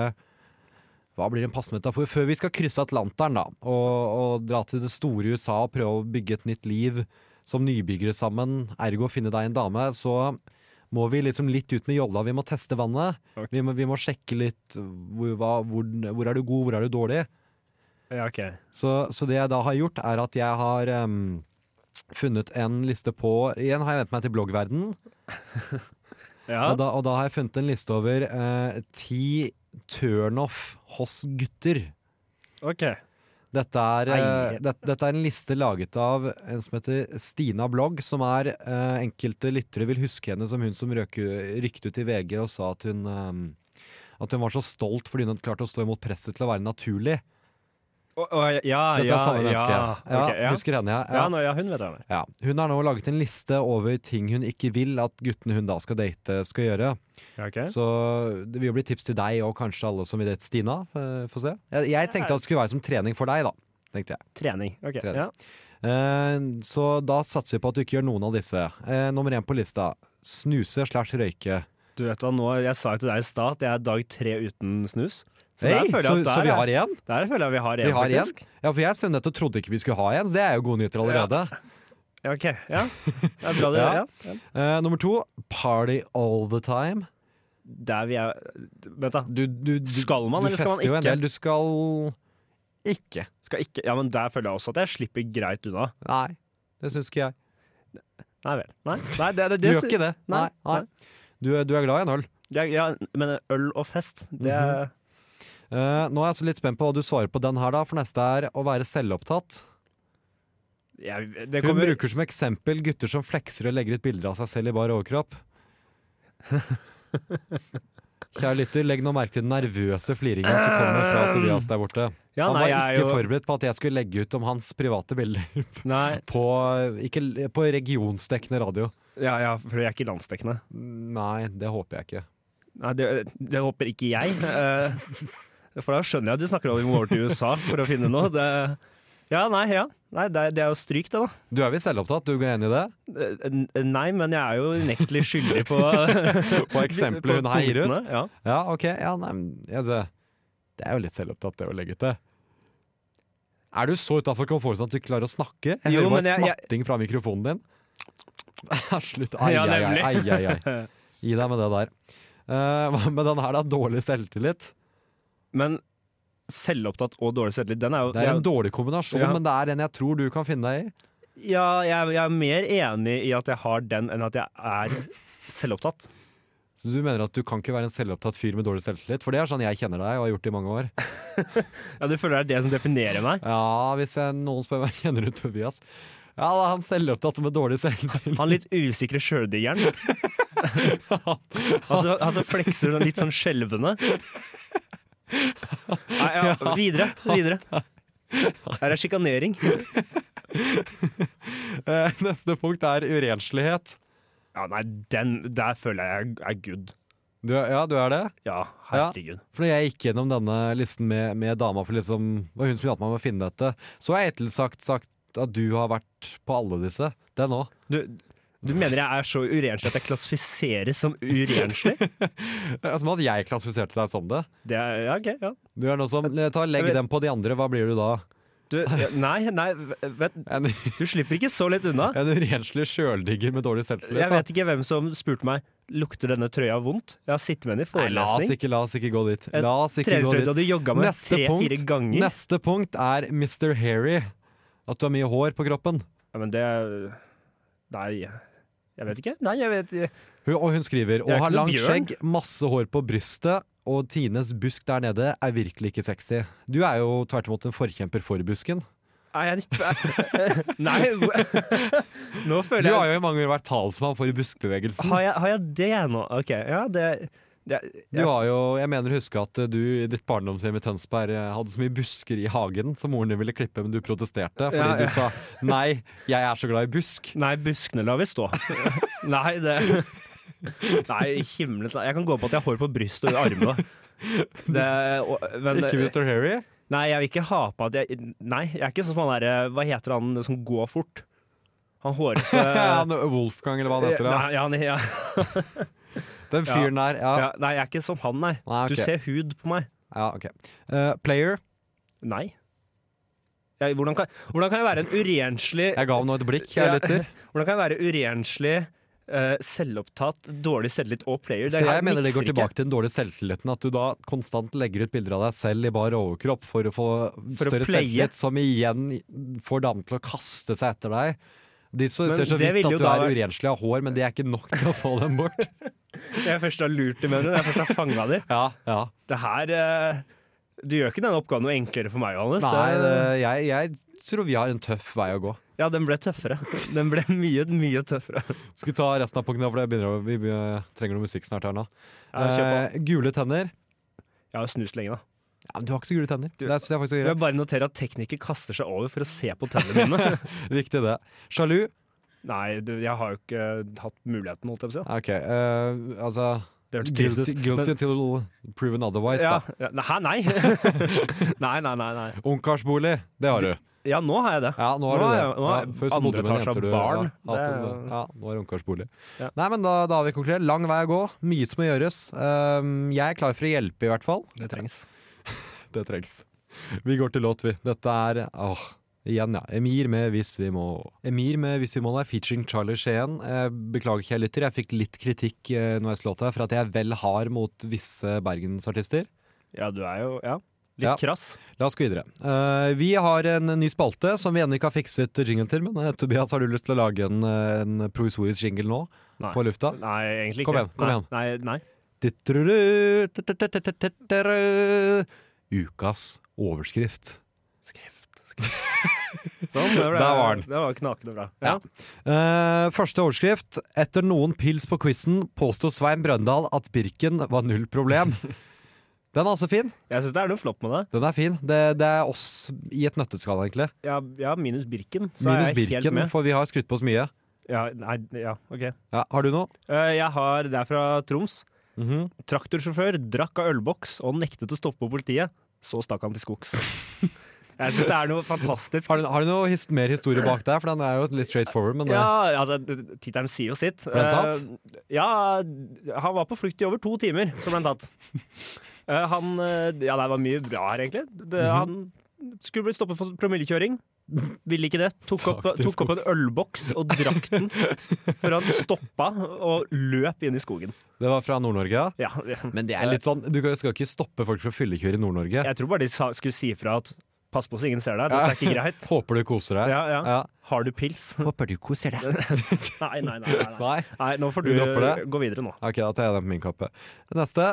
Speaker 5: Hva blir en passende metafor? Før vi skal krysse Atlanteren, da, og, og dra til det store USA og prøve å bygge et nytt liv som nybyggere sammen, ergo finne deg en dame, så må vi liksom litt ut med jolla. Vi må teste vannet.
Speaker 6: Ok.
Speaker 5: Vi, må, vi må sjekke litt hvor, hva, hvor, hvor er du god, hvor er du dårlig.
Speaker 6: Ja, ok.
Speaker 5: Så, så det jeg da har gjort, er at jeg har em, funnet en liste på Igjen har jeg vendt meg til bloggverden,
Speaker 6: Ja,
Speaker 5: og, da, og da har jeg funnet en liste over eh, ti turnoff hos gutter.
Speaker 6: ok.
Speaker 5: Dette er, eh,
Speaker 6: Eier.
Speaker 5: det, dette er en liste laget av en som heter Stina Blogg, som er eh, Enkelte lyttere vil huske henne som hun som røk, rykte ut i VG og sa at hun ehm, eh, At hun var så stolt fordi hun hadde klart å stå imot presset til å være naturlig.
Speaker 6: Å, å, ja,
Speaker 5: Dette
Speaker 6: Ah, ja,
Speaker 5: er samme menneske.
Speaker 6: Ja,
Speaker 5: Ja,
Speaker 6: ok, ja.
Speaker 5: Husker henne, ja.
Speaker 6: ja. nå, ja, hun vet jeg det.
Speaker 5: Ja, Hun har nå laget en liste over ting hun ikke vil at guttene hun da skal date, skal gjøre.
Speaker 6: Ja, ok.
Speaker 5: Så det vil jo bli tips til deg og kanskje alle som vil date Stina. eh, Få se. Jeg, jeg tenkte at det skulle være som trening for deg, da. tenkte jeg.
Speaker 6: Trening. ok,
Speaker 5: Trening.
Speaker 6: Ja.
Speaker 5: Eh, Så da satser vi på at du ikke gjør noen av disse. Eh, Nummer én på lista snuse slash røyke.
Speaker 6: Du vet hva, nå, Jeg sa jo til deg i stad at jeg er dag tre uten snus. Så,
Speaker 5: Hey,
Speaker 6: der føler
Speaker 5: så,
Speaker 6: jeg at der,
Speaker 5: så vi har
Speaker 6: er-
Speaker 5: én?
Speaker 6: der føler jeg vi har en,
Speaker 5: Vi har en.
Speaker 6: faktisk.
Speaker 5: Ja, for jeg så nettopp trodde ikke vi skulle ha en, så det er jo gode nyheter allerede.
Speaker 6: Ja, ok, ja. Det er bra det.
Speaker 5: Ja.
Speaker 6: ja. Ja.
Speaker 5: Eh, nummer to party all the time.
Speaker 6: Der vi er Vent, da.
Speaker 5: Du, du, du,
Speaker 6: Skal man,
Speaker 5: du
Speaker 6: eller skal man
Speaker 5: fester jo en
Speaker 6: ikke?
Speaker 5: del. Du skal ikke.
Speaker 6: Skal ikke Ja, men der føler jeg også at jeg slipper greit unna.
Speaker 5: Nei, det syns ikke jeg.
Speaker 6: Nei vel. Nei, nei det, det,
Speaker 5: Du
Speaker 6: det,
Speaker 5: gjør ikke det. Nei,
Speaker 6: Nei,
Speaker 5: nei. Du, er- du er glad i en øl.
Speaker 6: Ja, ja, men øl og fest, det er
Speaker 5: Eh, nå er jeg altså litt spent på hva du svarer på den her, da, for neste er å være selvopptatt.
Speaker 6: jeg, Det
Speaker 5: Mhm. Hun
Speaker 6: kommer
Speaker 5: bruker som eksempel gutter som flekser og legger ut bilder av seg selv i bar overkropp. Kjære lytter, legg nå merke til den nervøse fliringen som kommer fra Tobias der borte.
Speaker 6: ja,
Speaker 5: Han
Speaker 6: nei,
Speaker 5: var
Speaker 6: jeg er
Speaker 5: ikke
Speaker 6: jo,
Speaker 5: forberedt på at jeg skulle legge ut om hans private bilder
Speaker 6: Nei,
Speaker 5: på, ikke, på regionsdekkende radio.
Speaker 6: ja, ja, for jeg er ikke landsdekkende.
Speaker 5: Nei, det håper jeg ikke.
Speaker 6: Nei, det, det håper ikke jeg. eh, For da skjønner jeg at du snakker om vi må over til USA for å finne noe. Det, ja, nei, ja. Nei, det, er- det er jo stryk, det, da.
Speaker 5: Du er vel selvopptatt? Du går enig i det?
Speaker 6: Eh, Nei, men jeg er jo unektelig skyldig på
Speaker 5: På eksempelet hun her gir ut?
Speaker 6: punktene, Ja.
Speaker 5: Ja, OK. Ja, nei, men, altså, det er jo litt selvopptatt, det å legge ut det. Er du så utafor komfortsonen at du ikke klarer å snakke? Jeg
Speaker 6: Jo,
Speaker 5: hører
Speaker 6: men
Speaker 5: bare
Speaker 6: jeg- jeg-
Speaker 5: smatting fra mikrofonen din. Ja, Slutt. Ai,
Speaker 6: Ja,
Speaker 5: ai, ai,
Speaker 6: nemlig.
Speaker 5: ai, ai. Gi deg med det der. Eh, Hva med den her, da? Dårlig selvtillit.
Speaker 6: Men selvopptatt og dårlig selvtillit, den er jo
Speaker 5: Det er en dårlig kombinasjon,
Speaker 6: Ja.
Speaker 5: men det er en jeg tror du kan finne deg i.
Speaker 6: Ja, jeg, jeg er mer enig i at jeg har den, enn at jeg er selvopptatt.
Speaker 5: Så du mener at du kan ikke være en selvopptatt fyr med dårlig selvtillit? For det er sånn jeg kjenner deg og har gjort det i mange år.
Speaker 6: Ja, Du føler det er det som definerer meg?
Speaker 5: Ja, hvis jeg, noen spør meg kjenner du Tobias. Ja, da er han selvopptatt med dårlig selvtillit.
Speaker 6: Han litt usikre sjøldiggeren. altså, altså flekser sånn litt sånn skjelvende. Nei, ja, videre. Videre. Her er sjikanering.
Speaker 5: Eh, Neste punkt er urenslighet.
Speaker 6: Ja, nei, den der føler jeg er good.
Speaker 5: Du, er- ja, du er det?
Speaker 6: Ja, herregud.
Speaker 5: For når jeg gikk gjennom denne listen med, med dama, for liksom, det var hun som hjalp meg med å finne dette, så har jeg hittil sagt, sagt at du har vært på alle disse. Den òg.
Speaker 6: Du, du mener jeg er så urenslig at jeg klassifiseres som urenslig?
Speaker 5: Som at jeg klassifiserte deg som det.
Speaker 6: Det er, ja, ok, ja.
Speaker 5: Du er noe som, ta, Legg
Speaker 6: Jeg vet-
Speaker 5: den på de andre, hva blir du da?
Speaker 6: Du, nei, nei, vent.
Speaker 5: En,
Speaker 6: Du slipper ikke så lett unna.
Speaker 5: en urenslig sjøldigger med dårlig selvtillit?
Speaker 6: Jeg
Speaker 5: da.
Speaker 6: vet ikke hvem som spurte meg Lukter denne trøya vondt. Jeg har sittet med den i
Speaker 5: Nei, la oss
Speaker 6: forelesning.
Speaker 5: ikke, la oss ikke gå dit.
Speaker 6: En
Speaker 5: La oss ikke gå
Speaker 6: Treningstrøya
Speaker 5: dit.
Speaker 6: du jogga med
Speaker 5: Neste
Speaker 6: tre-fire
Speaker 5: punkt.
Speaker 6: ganger.
Speaker 5: Neste punkt er Mr. Hairy. At du har mye hår på kroppen.
Speaker 6: Ja, men det Nei, jeg vet ikke. Nei, jeg vet ikke.
Speaker 5: Hun, og hun skriver
Speaker 6: er
Speaker 5: Å ha
Speaker 6: ikke noe
Speaker 5: langt
Speaker 6: bjørn.
Speaker 5: skjegg, masse hår på brystet og Tines busk der nede er virkelig ikke sexy. Du er jo tvert imot en forkjemper for busken.
Speaker 6: Nei, jeg Nei, hvor- nå
Speaker 5: Du
Speaker 6: føler jeg
Speaker 5: har jo i mange år vært talsmann for buskbevegelsen.
Speaker 6: har jeg, har jeg det nå? OK, ja, det, det
Speaker 5: Du har jo, jeg mener å huske at eh, du i ditt barndomshjem i Tønsberg eh, hadde så mye busker i hagen som moren din ville klippe, men du protesterte fordi
Speaker 6: Ja, ja.
Speaker 5: du sa nei, jeg er så glad i busk.
Speaker 6: Nei, buskene lar vi stå. Nei, det Nei, himmelens Jeg kan gå på at jeg har hår på brystet og i armene. Det, og, men, eh,
Speaker 5: Ikke Mr. Hairy.
Speaker 6: Nei, jeg vil ikke ha på at jeg Nei, jeg er ikke sånn som han derre Hva heter han som går fort? Han hårete
Speaker 5: Han, eh, Wolfgang, eller hva han heter.
Speaker 6: Nei, han, eh, ja,
Speaker 5: Ja. Den fyren der. Ja,
Speaker 6: ja, nei, jeg er ikke som han, nei.
Speaker 5: Nei, ok.
Speaker 6: Du ser hud på meg.
Speaker 5: ja ok. Eh, player.
Speaker 6: Nei. Jeg, hvordan, kan, hvordan kan jeg være en urenslig
Speaker 5: Jeg ga ham nå et blikk, jeg
Speaker 6: Ja.
Speaker 5: lytter.
Speaker 6: Hvordan kan jeg være urenslig, eh, selvopptatt, dårlig selvtillit og player?
Speaker 5: Så jeg mener det går
Speaker 6: mikser ikke.
Speaker 5: tilbake til den dårlige selvtilliten. At du da konstant legger ut bilder av deg selv i bar overkropp for å få
Speaker 6: å
Speaker 5: større
Speaker 6: pleie.
Speaker 5: selvtillit, som igjen får damene til å kaste seg etter deg. De så,
Speaker 6: Men
Speaker 5: ser så vidt
Speaker 6: det ville
Speaker 5: at
Speaker 6: jo
Speaker 5: du
Speaker 6: da
Speaker 5: er
Speaker 6: vært-
Speaker 5: urenslig av hår, men det er ikke nok til å få dem bort.
Speaker 6: Jeg først har lurt dem, mener du? Jeg først har fanga dem.
Speaker 5: Ja, ja.
Speaker 6: Det her eh, Du gjør ikke denne oppgaven noe enklere for meg, Johannes.
Speaker 5: Nei,
Speaker 6: Det-
Speaker 5: det, jeg, jeg tror vi har en tøff vei å gå.
Speaker 6: Ja, den ble tøffere. Den ble mye, mye tøffere.
Speaker 5: Skal vi ta resten av punktene, for det begynner, å- vi begynner, trenger noe musikk snart her nå.
Speaker 6: Ja, kjør på.
Speaker 5: Eh, gule tenner.
Speaker 6: Jeg har snust lenge, da.
Speaker 5: Ja, men du har ikke så gule tenner. Det er, det er faktisk
Speaker 6: Jeg vil
Speaker 5: greit.
Speaker 6: bare notere at tekniker kaster seg over for å se på tennene mine.
Speaker 5: Viktig, det. Sjalu.
Speaker 6: Nei, du, jeg har jo ikke eh, hatt muligheten, holdt jeg på å si.
Speaker 5: OK, eh, altså
Speaker 6: Det hørtes trist ut.
Speaker 5: Guilty, guilty until proven otherwise,
Speaker 6: Ja,
Speaker 5: da.
Speaker 6: ja, hæ, nei. nei, nei, nei, nei.
Speaker 5: Ungkarsbolig, det har du.
Speaker 6: Ja, nå har jeg det.
Speaker 5: Ja, nå har
Speaker 6: Nå
Speaker 5: du
Speaker 6: er
Speaker 5: det.
Speaker 6: jeg- nå er jeg
Speaker 5: Ja, før så bodde
Speaker 6: andre
Speaker 5: du med
Speaker 6: etasje av
Speaker 5: jenter du-
Speaker 6: barn.
Speaker 5: Ja, hatt
Speaker 6: Det er-
Speaker 5: en- ja, nå er det ungkarsbolig.
Speaker 6: Ja.
Speaker 5: Nei, men da, da har vi konkludert. Lang vei å gå. Mye som må gjøres. Um, jeg er klar for å hjelpe, i hvert fall.
Speaker 6: Det trengs.
Speaker 5: Det trengs. Vi går til låt, vi. Dette er åh, Igjen, ja. Emir med 'Hvis vi må'. Emir med 'Hvis vi må' er featuring Charlie Skien. Eh, Beklager ikke, jeg lytter. Jeg fikk litt kritikk eh, når jeg slått her for at jeg er vel hard mot visse bergensartister.
Speaker 6: Ja, du er jo ja. litt
Speaker 5: Ja.
Speaker 6: krass.
Speaker 5: La oss gå videre. Eh, vi har en ny spalte som vi ennå ikke har fikset jingle til. Men eh, Tobias, har du lyst til å lage en, eh, en provisorisk jingle nå?
Speaker 6: Nei.
Speaker 5: På lufta?
Speaker 6: Nei, egentlig ikke.
Speaker 5: Kom igjen, kom
Speaker 6: nei,
Speaker 5: igjen.
Speaker 6: Nei, nei.
Speaker 5: Dittrudu, titteteteteteru. Ukas overskrift.
Speaker 6: Skrift, skrift. Sånn, det ble,
Speaker 5: Der var den.
Speaker 6: Det var knakende bra. Ja.
Speaker 5: Ja. Eh, første overskrift. Etter noen pils på quizen påsto Svein Brøndal at Birken var null problem. Den er altså fin.
Speaker 6: Jeg syns det er noe flott med det.
Speaker 5: Den er fin. Det, det er oss i et nøtteskall, egentlig.
Speaker 6: Ja, ja minus Birken, så
Speaker 5: Minus
Speaker 6: er jeg helt
Speaker 5: Birken,
Speaker 6: med.
Speaker 5: for vi har skrytt på oss mye.
Speaker 6: Ja, nei, ja, ok.
Speaker 5: Ja, har du noe?
Speaker 6: Eh, jeg har, det er fra Troms.
Speaker 5: Mhm.
Speaker 6: Traktorsjåfør drakk av ølboks og nektet å stoppe politiet. Så stakk han til skogs. Jeg syns det er noe fantastisk.
Speaker 5: Har du, har du noe his mer historie bak der? For den er jo litt straight forward, men det,
Speaker 6: Ja, altså, d- tittelen sier jo sitt.
Speaker 5: Ble han
Speaker 6: Eh, ja, han var på flukt i over to timer, så ble han tatt. Eh, han eh, Ja, det var mye bra her, egentlig. Det,
Speaker 5: Mhm.
Speaker 6: Han skulle bli stoppet for promillekjøring. Ville ikke det. Tok opp,
Speaker 5: Stakk til
Speaker 6: tok opp en ølboks og drakk den før han stoppa og løp inn i skogen.
Speaker 5: det var fra Nord-Norge.
Speaker 6: Ja,
Speaker 5: Men det er litt sånn, du skal ikke stoppe folk fra å fyllekjøre i Nord-Norge.
Speaker 6: Jeg tror bare de sa, skulle si ifra at pass på så ingen ser deg, dette er ikke greit.
Speaker 5: Håper du koser deg.
Speaker 6: Ja, ja. Har du pils?
Speaker 5: Håper du koser deg.
Speaker 6: Nei, nei, nei. nei, nei.
Speaker 5: Nei?
Speaker 6: nei nå får
Speaker 5: Vi
Speaker 6: du
Speaker 5: dropper det.
Speaker 6: gå videre nå.
Speaker 5: Ok, da tar jeg den på min kappe. Neste.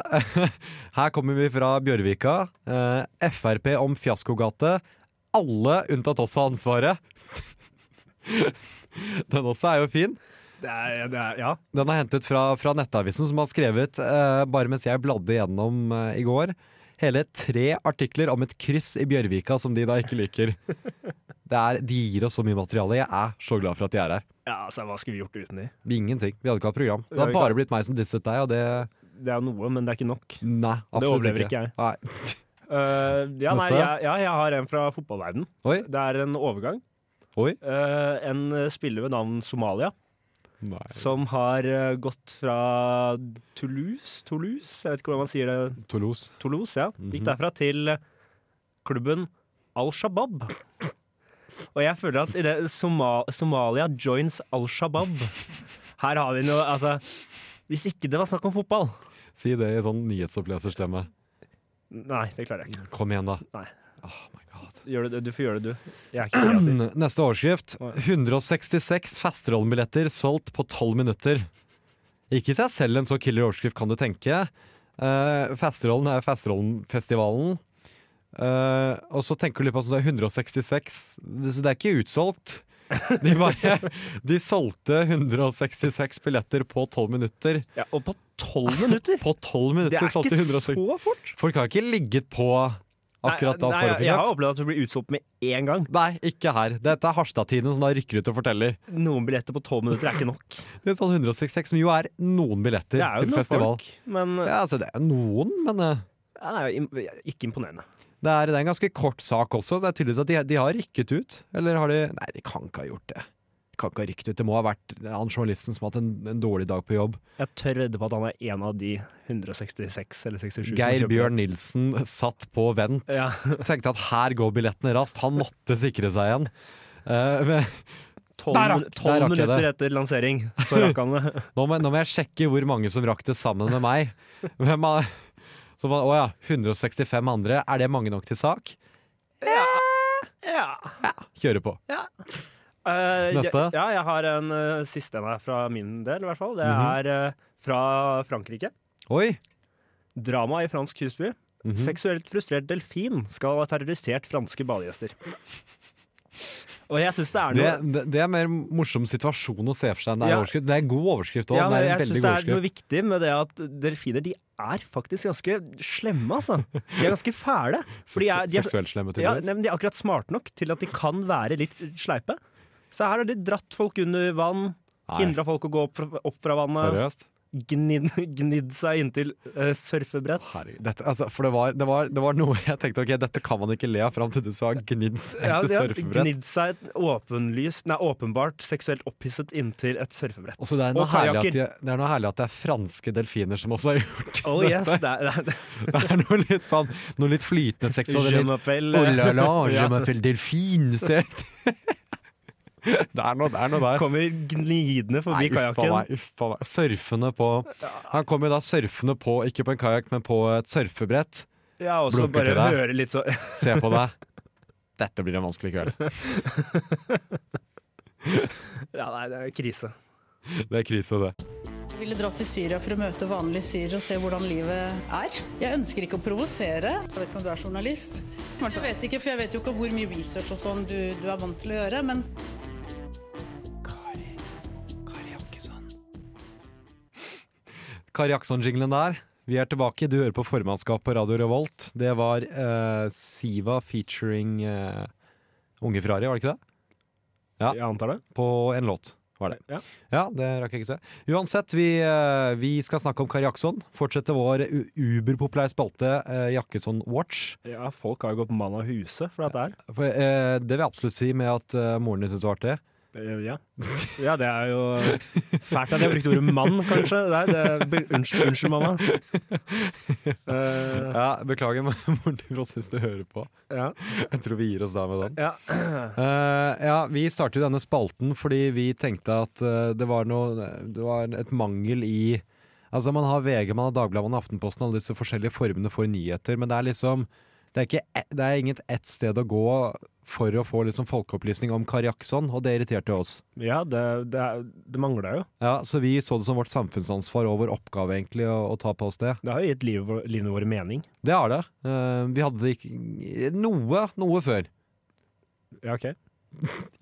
Speaker 5: Her kommer vi fra Bjørvika. Eh, Frp om fiaskogate. Alle unntatt oss har ansvaret. Den også er jo fin.
Speaker 6: Det er, det er, ja.
Speaker 5: Den er hentet fra, fra Nettavisen, som har skrevet, eh, bare mens jeg bladde gjennom eh, i går, hele tre artikler om et kryss i Bjørvika som de da ikke liker. Det er, de gir oss så mye materiale. Jeg er så glad for at de er her.
Speaker 6: Ja, altså, Hva skulle vi gjort uten de?
Speaker 5: Vi- Ingenting. Vi hadde ikke hatt program. Det
Speaker 6: Vi
Speaker 5: har
Speaker 6: hadde ikke
Speaker 5: bare blitt meg som disset deg, og det
Speaker 6: Det er noe, men det er ikke nok.
Speaker 5: Nei, absolutt
Speaker 6: overlever ikke jeg.
Speaker 5: Nei.
Speaker 6: Eh, ja, nei,
Speaker 5: Neste.
Speaker 6: jeg, ja, jeg har en fra fotballverden.
Speaker 5: Oi.
Speaker 6: Det er en overgang.
Speaker 5: Oi.
Speaker 6: Eh, en spiller ved navn Somalia
Speaker 5: Nei.
Speaker 6: som har eh, gått fra Toulouse Toulouse, jeg vet ikke hvordan man sier det.
Speaker 5: Toulouse.
Speaker 6: Toulouse, ja. Gikk derfra til klubben Al Shabaab. Og jeg føler at i det Soma Somalia joins Al Shabaab Her har vi noe Altså, hvis ikke det var snakk om fotball
Speaker 5: Si det i sånn nyhetsoppleserstemme.
Speaker 6: Nei, det klarer jeg ikke.
Speaker 5: Kom igjen, da.
Speaker 6: Nei.
Speaker 5: Oh my god.
Speaker 6: Gjør det, du får gjøre det, du. Jeg er ikke kreativ.
Speaker 5: Neste overskrift. 166 Fasterholm-billetter solgt på 12 minutter. Ikke i seg selv en så killer overskrift, kan du tenke. Uh, Fasterholm er Fasterholmfestivalen. Eh, og så tenker du litt på at det er 166, så det er ikke utsolgt. De, bare, de solgte 166 billetter på 12 minutter.
Speaker 6: Ja, og på tolv minutter!
Speaker 5: På 12
Speaker 6: Det
Speaker 5: minutter
Speaker 6: er
Speaker 5: solgte
Speaker 6: ikke
Speaker 5: 166
Speaker 6: så fort!
Speaker 5: Folk har ikke ligget på akkurat da for
Speaker 6: Nei,
Speaker 5: å
Speaker 6: nei,
Speaker 5: få
Speaker 6: jeg har
Speaker 5: kjøpt.
Speaker 6: opplevd at du blir utsolgt med én gang.
Speaker 5: Nei, ikke her. Dette er Harstad-tiden som da rykker ut og forteller.
Speaker 6: Noen billetter på tolv minutter er ikke nok.
Speaker 5: Det er sånn 166, som jo er noen billetter
Speaker 6: Det er jo
Speaker 5: til
Speaker 6: noen
Speaker 5: festival.
Speaker 6: folk, men ja,
Speaker 5: Ja, altså det er noen, men eh,
Speaker 6: det er jo im- ikke imponerende.
Speaker 5: det er, det er en ganske kort sak også. Det er tydeligvis at de, de har rykket ut. Eller har de Nei, de kan ikke ha gjort det. De kan ikke ha rykket ut. Det må ha vært han journalisten som har hatt en, en dårlig dag på jobb.
Speaker 6: Jeg tør redde på at han er en av de 166 eller 67 som
Speaker 5: Geir
Speaker 6: kjøper
Speaker 5: Bjørn
Speaker 6: det.
Speaker 5: Nilsen satt på vent.
Speaker 6: Ja.
Speaker 5: Tenkte at her går billettene raskt. Han måtte sikre seg igjen. Eh, men,
Speaker 6: Tolv
Speaker 5: Der rakk-
Speaker 6: min- tolv
Speaker 5: der rakk jeg
Speaker 6: minutter etter lansering, så rakk han det.
Speaker 5: nå, må, nå må jeg sjekke hvor mange som rakk det sammen med meg. Hvem av så, var- Å ja, 165 andre. Er det mange nok til sak?
Speaker 6: Ja.
Speaker 5: Kjøre på.
Speaker 6: Eh,
Speaker 5: Neste.
Speaker 6: Jeg, ja, jeg har en eh, siste en her fra min del, i hvert fall. Det
Speaker 5: Mhm.
Speaker 6: er eh, fra Frankrike.
Speaker 5: Oi!
Speaker 6: Drama i fransk husby.
Speaker 5: Mhm.
Speaker 6: Seksuelt frustrert delfin skal ha terrorisert franske badegjester. Og jeg syns det er
Speaker 5: Det,
Speaker 6: noe
Speaker 5: det, det er en mer morsom situasjon å se for seg enn det er
Speaker 6: Ja.
Speaker 5: overskrift. Det er en god overskrift òg.
Speaker 6: Ja,
Speaker 5: det
Speaker 6: men
Speaker 5: er en
Speaker 6: jeg
Speaker 5: veldig god
Speaker 6: syns det er noe
Speaker 5: overskrift.
Speaker 6: viktig med det at delfiner de er faktisk ganske slemme, altså. De er ganske fæle. For de er, de er,
Speaker 5: Seksuelt slemme,
Speaker 6: ja,
Speaker 5: tydeligvis.
Speaker 6: nei, men de er akkurat smarte nok til at de kan være litt sleipe. Så her har de dratt folk under vann,
Speaker 5: Nei,
Speaker 6: hindra folk å gå opp fra, opp fra vannet,
Speaker 5: seriøst.
Speaker 6: gnidd, gnidd seg inntil eh, surfebrett.
Speaker 5: Herregud. Dette, altså, for det var, det, var, det var noe jeg tenkte Ok, dette kan man ikke le av fram til du sa gnidd seg
Speaker 6: Ja,
Speaker 5: til
Speaker 6: de har
Speaker 5: surfebrett.
Speaker 6: gnidd seg åpenlyst, nei, åpenbart seksuelt opphisset inntil et surfebrett.
Speaker 5: Og så det, er noe
Speaker 6: Og
Speaker 5: herlig at
Speaker 6: kajakker.
Speaker 5: de, det er noe herlig at det er franske delfiner som også har gjort
Speaker 6: Oh yes,
Speaker 5: dette.
Speaker 6: det er, det
Speaker 5: Det er noe litt sånn Noe litt flytende
Speaker 6: er,
Speaker 5: seksualitet.
Speaker 6: Je m'appelle-
Speaker 5: Oh la la,
Speaker 6: Ja.
Speaker 5: je m'appelle delfin. Se. Det er noe, det er noe der.
Speaker 6: Kommer gnidende forbi
Speaker 5: uffa
Speaker 6: kajakken.
Speaker 5: meg, uffa meg. Surfende på Han kom jo da surfende på, ikke på en kajakk, men på et surfebrett.
Speaker 6: Ja, og så
Speaker 5: Blunker
Speaker 6: bare
Speaker 5: til deg.
Speaker 6: høre litt sånn
Speaker 5: Se på deg. Dette blir en vanskelig kveld.
Speaker 6: Ja, nei, det er krise.
Speaker 5: Det er krise, det.
Speaker 8: Jeg ville dratt til Syria for å møte vanlige syrere og se hvordan livet er. Jeg ønsker ikke å provosere. Jeg vet ikke om du er journalist. Jeg vet ikke, for jeg vet jo ikke hvor mye research og sånn du, du er vant til å gjøre, men
Speaker 5: Kari Akson-jinglen der. Vi er tilbake. Du hører på formannskap på Radio Revolt. Det var eh, Siva featuring eh, Unge Ferrari, var det ikke det? Ja.
Speaker 6: Jeg antar det.
Speaker 5: På en låt. Var det.
Speaker 6: Ja.
Speaker 5: Ja, det rakk jeg ikke se. Uansett, vi, eh, vi skal snakke om Kari Akson. Fortsette vår u- uberpopulære spalte eh, Jakkesson Watch.
Speaker 6: ja, folk har jo gått mann av huse for dette her.
Speaker 5: For, eh, det vil jeg absolutt si med at eh, moren din syntes det var artig.
Speaker 6: Eh, Ja. ja, det er jo fælt at jeg brukte ordet mann, kanskje. Nei, det, be- unnskyld, unnskyld, mamma. Eh,
Speaker 5: Ja, beklager, men moren din også syns du hører på.
Speaker 6: ja.
Speaker 5: Jeg tror vi gir oss der med den.
Speaker 6: ja.
Speaker 5: Eh, ja, vi startet jo denne spalten fordi vi tenkte at eh, det var noe Det var et mangel i Altså, man har VG, man har Dagbladet, man har Aftenposten, alle disse forskjellige formene for nyheter, men det er liksom Det er, ikke, e- det er ingen ett sted å gå for å få liksom folkeopplysning om Kari Jakkesson, og det irriterte oss.
Speaker 6: ja det, det, er- det mangler jo.
Speaker 5: Ja, så vi så det som vårt samfunnsansvar og vår oppgave egentlig å, å ta på oss det.
Speaker 6: Det har jo gitt livet, vår- livet vårt mening.
Speaker 5: Det har det. Eh, vi hadde det ikke Noe, noe før.
Speaker 6: Ja, ok.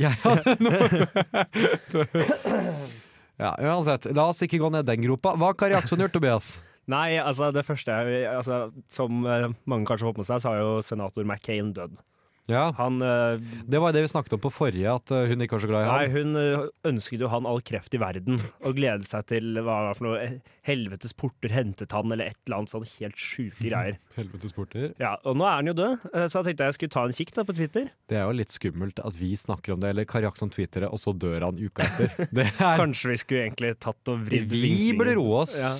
Speaker 5: Jeg hadde noe før. Ja, uansett. La oss ikke gå ned den gropa. Hva har Kari Akson gjort, Tobias?
Speaker 6: Nei, altså det første jeg altså, Som eh, mange kanskje har fått med seg, så har jo senator McCain dødd.
Speaker 5: Ja,
Speaker 6: Han eh,
Speaker 5: Det var jo det vi snakket om på forrige, at eh, hun ikke var så glad i
Speaker 6: Nei,
Speaker 5: ham.
Speaker 6: hun ø, ønsket jo han all kreft i verden, og gledet seg til hva det var for noe eh, helvetes porter hentet han, eller et eller annet sånn helt sjuke greier.
Speaker 5: Helvetes porter.
Speaker 6: Ja, og nå er han jo død, eh, så jeg tenkte jeg skulle ta en kikk da på Twitter.
Speaker 5: Det er jo litt skummelt at vi snakker om det, eller Kari Akson twitterer, og så dør han uka etter. Det er
Speaker 6: Kanskje vi skulle egentlig tatt og vridd
Speaker 5: Vi burde
Speaker 6: vinklingen.
Speaker 5: roe oss.
Speaker 6: Ja.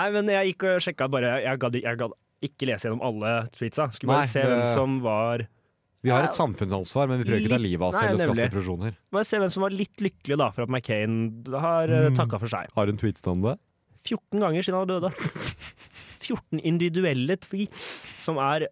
Speaker 6: Nei, men jeg gikk og sjekka bare Jeg gadd jeg gadd ikke lese gjennom alle tweetsa. Skulle
Speaker 5: Nei,
Speaker 6: bare se hvem
Speaker 5: det-
Speaker 6: som var
Speaker 5: Vi har et samfunnsansvar, men vi prøver ikke å ta livet av oss
Speaker 6: Nei,
Speaker 5: eller skaffe
Speaker 6: nemlig.
Speaker 5: depresjoner.
Speaker 6: Bare se hvem som var litt lykkelig da for at McCain har uh,
Speaker 5: Mm.
Speaker 6: takka for seg.
Speaker 5: Har hun tweetet om det?
Speaker 6: 14 ganger siden han døde. 14 individuelle tweets som er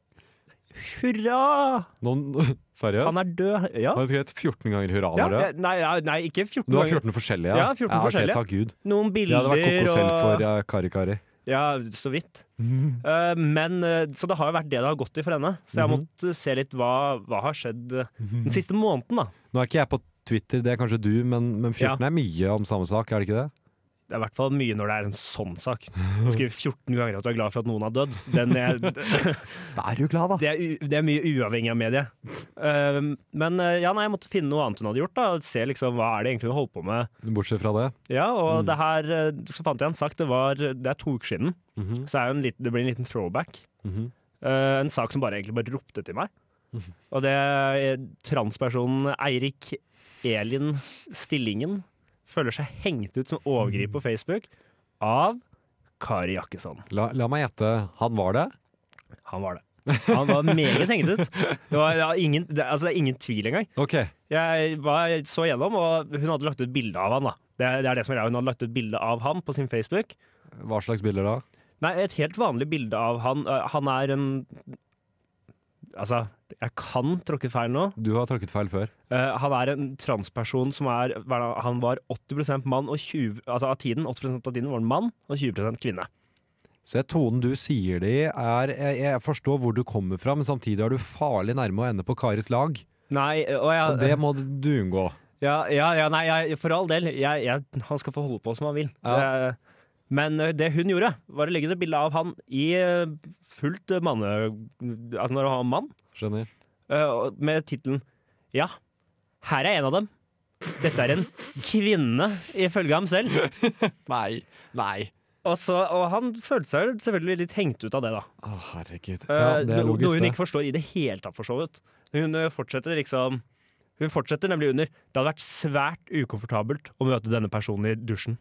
Speaker 6: Hurra!
Speaker 5: Noen, seriøst?
Speaker 6: Han er død. Ja.
Speaker 5: Har hun skrevet 14 ganger hurra?
Speaker 6: ja
Speaker 5: dere?
Speaker 6: jeg- nei, ja, nei, ikke 14
Speaker 5: Du har
Speaker 6: ganger.
Speaker 5: 14 forskjellige?
Speaker 6: Ja, 14
Speaker 5: ok,
Speaker 6: forskjellige.
Speaker 5: Takk Gud.
Speaker 6: Noen
Speaker 5: Det
Speaker 6: bilder
Speaker 5: hadde vært kokosell for eh,
Speaker 6: og
Speaker 5: ja, Kari-Kari.
Speaker 6: Ja, så vidt. Eh, men, eh, så det har jo vært det det har gått i for henne. Så jeg
Speaker 5: Mhm.
Speaker 6: måtte se litt hva, hva har skjedd eh, den siste måneden, da.
Speaker 5: Nå er ikke jeg på Twitter, det er kanskje du, men, men 14
Speaker 6: Ja.
Speaker 5: er mye om samme sak, er det ikke det?
Speaker 6: Det er i hvert fall mye når det er en sånn sak. Skrive 14 ganger at du er glad for at noen har dødd. Den er,
Speaker 5: Da er du glad,
Speaker 6: det er, u det er mye uavhengig av mediet. Ehm, men eh, ja, nei, jeg måtte finne noe annet hun hadde gjort. da og Se liksom, hva er det egentlig hun holdt på med.
Speaker 5: Bortsett fra det.
Speaker 6: Ja, og det her, eh, Så fant jeg en sak, det, var, det er to uker siden.
Speaker 5: Mhm,
Speaker 6: Så er jo en liten, det blir en liten throwback.
Speaker 5: mhm.
Speaker 6: Eh, en sak som bare egentlig bare ropte til meg. Og det er transpersonen Eirik Elin Stillingen føler seg hengt ut som overgriper på Facebook av Kari Jakkesson.
Speaker 5: la, la meg gjette, han var det?
Speaker 6: Han var det. Han var meget hengt ut. Det, var, det, var ingen, det, altså, det er ingen tvil engang.
Speaker 5: Ok,
Speaker 6: Jeg var, så gjennom, og hun hadde lagt ut bilde av han. da. Det, er- det er det som er greia. Hun hadde lagt ut bilde av han på sin Facebook.
Speaker 5: hva slags bilder da?
Speaker 6: Nei, et helt vanlig bilde av han. Eh, Han er en Altså, jeg kan tråkke feil nå.
Speaker 5: Du har tråkket feil før.
Speaker 6: Eh, Han er en transperson som er hva er det- Han var 80 mann og 20, altså av tiden, 80 av tiden var han mann og 20 kvinne.
Speaker 5: Se, tonen du sier det i er, jeg, jeg forstår hvor du kommer fra, men samtidig er du farlig nærme å ende på Karis lag.
Speaker 6: Nei, eh, og jeg,
Speaker 5: Og det må du unngå.
Speaker 6: ja, ja, ja, nei jeg, for all del. Jeg, jeg, han skal få holde på som han vil.
Speaker 5: Ja.
Speaker 6: Eh, Men eh, det hun gjorde, var å legge ut et bilde av han i eh, fullt eh, manne... Altså når han var mann,
Speaker 5: Skjønner.
Speaker 6: eh, og- med tittelen 'Ja, her er en av dem'. Dette er en kvinne, ifølge ham selv.
Speaker 5: Nei. Nei.
Speaker 6: Og, så, og han følte seg jo selvfølgelig litt hengt ut av det, da.
Speaker 5: Å, herregud.
Speaker 6: Eh,
Speaker 5: Ja, det er
Speaker 6: no- noe
Speaker 5: logisk,
Speaker 6: hun
Speaker 5: det.
Speaker 6: ikke forstår i det hele tatt, for så vidt. Hun eh, fortsetter liksom Hun fortsetter nemlig under Det hadde vært svært ukomfortabelt å møte denne personen i dusjen.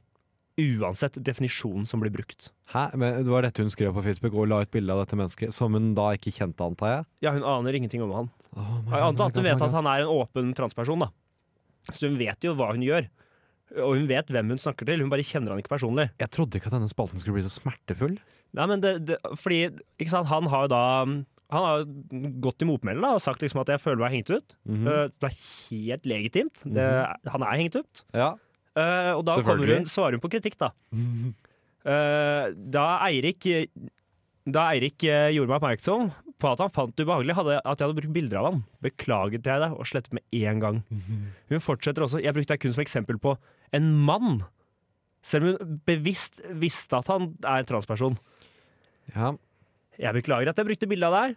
Speaker 6: Uansett definisjonen som blir brukt.
Speaker 5: Hæ? Men det var dette hun skrev på Facebook og la ut bilde av dette mennesket, som hun da ikke kjente, antar jeg?
Speaker 6: Ja, hun aner ingenting om han.
Speaker 5: Oh my
Speaker 6: Jeg antar
Speaker 5: God,
Speaker 6: at hun
Speaker 5: my
Speaker 6: vet
Speaker 5: God.
Speaker 6: at han er en åpen transperson, da. Så hun vet jo hva hun gjør. Og hun vet hvem hun snakker til, hun bare kjenner han ikke personlig.
Speaker 5: Jeg trodde ikke at denne spalten skulle bli så smertefull.
Speaker 6: Nei, men det, det, fordi, ikke sant, han har jo da han har jo gått i motmæle da, og sagt liksom at jeg føler meg hengt ut. Eh, Det er helt legitimt. Det, han er hengt ut.
Speaker 5: Ja.
Speaker 6: Eh, og da kommer
Speaker 5: Selvfølgelig.
Speaker 6: hun, svarer hun på kritikk, da. Eh, da Eirik da Eirik eh, gjorde meg oppmerksom på at han fant det ubehagelig hadde, at jeg hadde brukt bilder av han, beklaget jeg det og slettet med én gang. Hun fortsetter også. Jeg brukte deg kun som eksempel på en mann. Selv om hun bevisst visste at han er en transperson.
Speaker 5: ja.
Speaker 6: Jeg beklager at jeg brukte bilde av deg.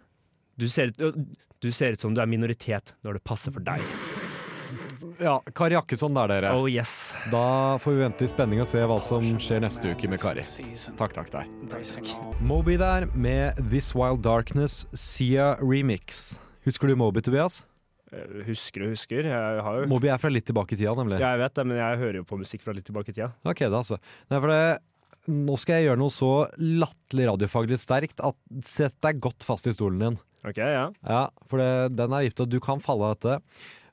Speaker 6: Du ser, ut, øh, du ser ut som du er minoritet når det passer for deg.
Speaker 5: ja Kari Jakkesson der, dere.
Speaker 6: Oh yes.
Speaker 5: Da får vi vente i spenning og se hva som skjer neste uke med Kari. Takk, takk, takk. Moby der med This Wild Darkness Sia Remix. Husker du Moby, Tobias?
Speaker 6: Eh, Husker og husker. Jeg har jo
Speaker 5: Moby er fra litt tilbake i tida, nemlig.
Speaker 6: Jeg vet det, men jeg hører jo på musikk fra litt tilbake i tida.
Speaker 5: Ok, da altså. Nei, for det, nå skal jeg gjøre noe så latterlig radiofaglig sterkt at sett deg godt fast i stolen din.
Speaker 6: Ok, ja.
Speaker 5: Ja, for det, den er gitt, og du kan falle av dette.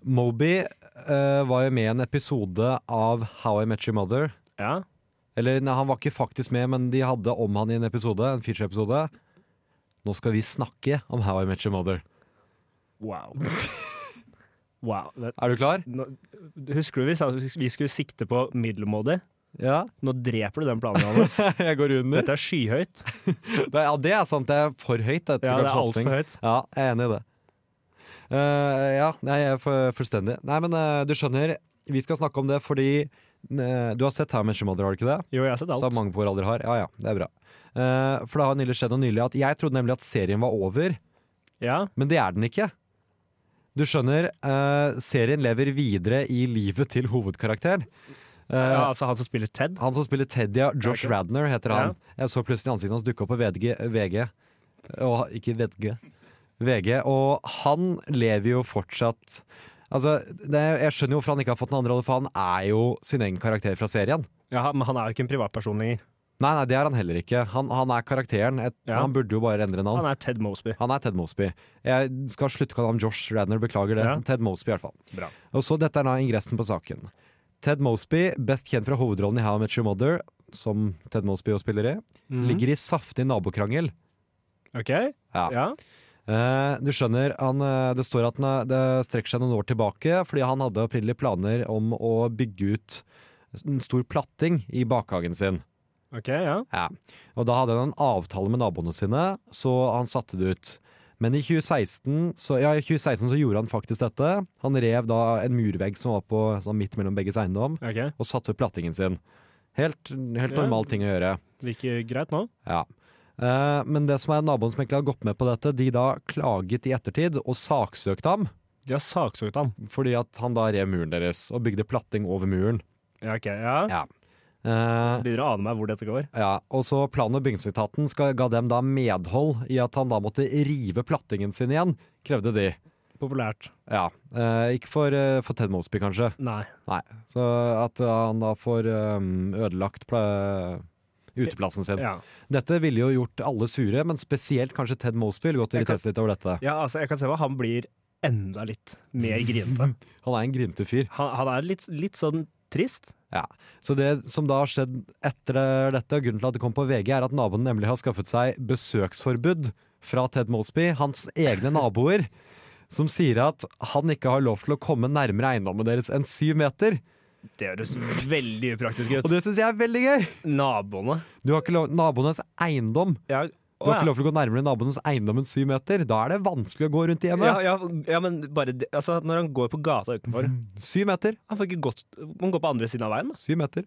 Speaker 5: Moby eh, var jo med i en episode av How I Met Your Mother.
Speaker 6: ja.
Speaker 5: Eller nei, han var ikke faktisk med, men de hadde om han i en episode, en feature-episode. Nå skal vi snakke om How I Met Your Mother.
Speaker 6: Wow. wow. Vet-
Speaker 5: Er du klar?
Speaker 6: Nå, husker du vi sa at vi skulle sikte på middelmådig?
Speaker 5: Ja.
Speaker 6: Nå dreper du den planen hans.
Speaker 5: Jeg går under.
Speaker 6: Dette er skyhøyt.
Speaker 5: Nei, Ja, det er sant. Det er for høyt. Dette,
Speaker 6: Ja, det er
Speaker 5: kanskje, satsing.
Speaker 6: altfor høyt.
Speaker 5: Ja, jeg er enig i det. Eh, ja, nei, jeg er for, fullstendig. Nei, men eh, du skjønner, vi skal snakke om det fordi eh, Du har sett How I Met Your Mother, har du ikke det?
Speaker 6: Jo, jeg har sett
Speaker 5: Så
Speaker 6: alt.
Speaker 5: mange på vår alder har. Ja ja, det er bra. Eh, for det har nylig skjedd noe nylig at jeg trodde nemlig at serien var over.
Speaker 6: Ja.
Speaker 5: Men det er den ikke. Du skjønner, eh, serien lever videre i livet til hovedkarakteren. Eh,
Speaker 6: ja, altså han som spiller Ted.
Speaker 5: Han som spiller Teddy, ja, Josh Radner heter han. Jeg så plutselig ansiktet hans dukke opp på VG. VG. Og, ikke VG. VG. Og han lever jo fortsatt Altså, det, Jeg skjønner jo hvorfor han ikke har fått noen andre rolle, for han er jo sin egen karakter fra serien.
Speaker 6: Ja, men han er jo ikke en privatperson lenger.
Speaker 5: Nei, nei, det er han heller ikke. Han, han er karakteren. Et,
Speaker 6: Ja.
Speaker 5: Han burde jo bare endre navn.
Speaker 6: Han er Ted Mosby.
Speaker 5: Han er Ted Mosby. Jeg skal slutte å kalle ham Josh Radner, beklager det.
Speaker 6: Ja.
Speaker 5: Ted Mosby i hvert fall.
Speaker 6: Bra.
Speaker 5: Og så dette er da ingressen på saken. Ted Mosby, best kjent fra hovedrollen i How I Met Your Mother, som Ted Mosby også spiller i, Mm. ligger i saftig nabokrangel.
Speaker 6: Mhm. OK?
Speaker 5: Ja.
Speaker 6: Ja.
Speaker 5: Eh, du skjønner, han, eh, det står at han, er- det strekker seg noen år tilbake, fordi han hadde opprinnelige planer om å bygge ut en stor platting i bakhagen sin.
Speaker 6: OK, ja.
Speaker 5: Ja. Og da hadde han en avtale med naboene sine, så han satte det ut. Men i 2016 så, ja, i 2016 så gjorde han faktisk dette. Han rev da en murvegg som var på, sånn midt mellom begges eiendom,
Speaker 6: Ok,
Speaker 5: og satte ut plattingen sin. Helt, helt
Speaker 6: Ja.
Speaker 5: normal ting å gjøre.
Speaker 6: Det gikk greit nå?
Speaker 5: Ja. Eh, men det som er naboen som egentlig har gått med på dette, de da klaget i ettertid og saksøkte ham
Speaker 6: De har saksøkt han.
Speaker 5: fordi at han da rev muren deres og bygde platting over muren.
Speaker 6: Ja, OK. Ja.
Speaker 5: Ja. Eh,
Speaker 6: Begynner å ane meg hvor dette går.
Speaker 5: Ja, og så Plan- og bygningsetaten skal- ga dem da medhold i at han da måtte rive plattingen sin igjen, krevde de.
Speaker 6: Populært.
Speaker 5: Ja, eh, Ikke for, eh, for Ted Mosby, kanskje.
Speaker 6: Nei.
Speaker 5: Nei. Så at han da får eh, ødelagt pla uteplassen sin.
Speaker 6: Ja.
Speaker 5: Dette ville jo gjort alle sure, men spesielt kanskje Ted Mosby ville gått og
Speaker 6: Jeg kan-
Speaker 5: irritert seg litt over dette.
Speaker 6: Ja, altså, jeg kan se hva han blir enda litt mer grinete.
Speaker 5: Han er en grinte fyr.
Speaker 6: Han, han er litt, litt sånn trist.
Speaker 5: Ja. Så det som da har skjedd etter dette, og grunnen til at det kom på VG, er at naboen nemlig har skaffet seg besøksforbud fra Ted Mosby, hans egne naboer, som sier at han ikke har lov til å komme nærmere eiendommen deres enn syv meter.
Speaker 6: Det høres veldig upraktisk
Speaker 5: Og
Speaker 6: ut.
Speaker 5: det syns jeg er veldig gøy!
Speaker 6: Naboene
Speaker 5: Du har ikke lov Naboenes eiendom.
Speaker 6: ja,
Speaker 5: Du har ikke lov til å gå nærmere naboens eiendom enn syv meter. Da er det vanskelig å gå rundt i
Speaker 6: ja,
Speaker 5: hjemmet.
Speaker 6: ja, ja, men bare det, altså, Når han går på gata utenfor
Speaker 5: Syv meter.
Speaker 6: Han får ikke gått Man går på andre siden av veien. da.
Speaker 5: Syv meter.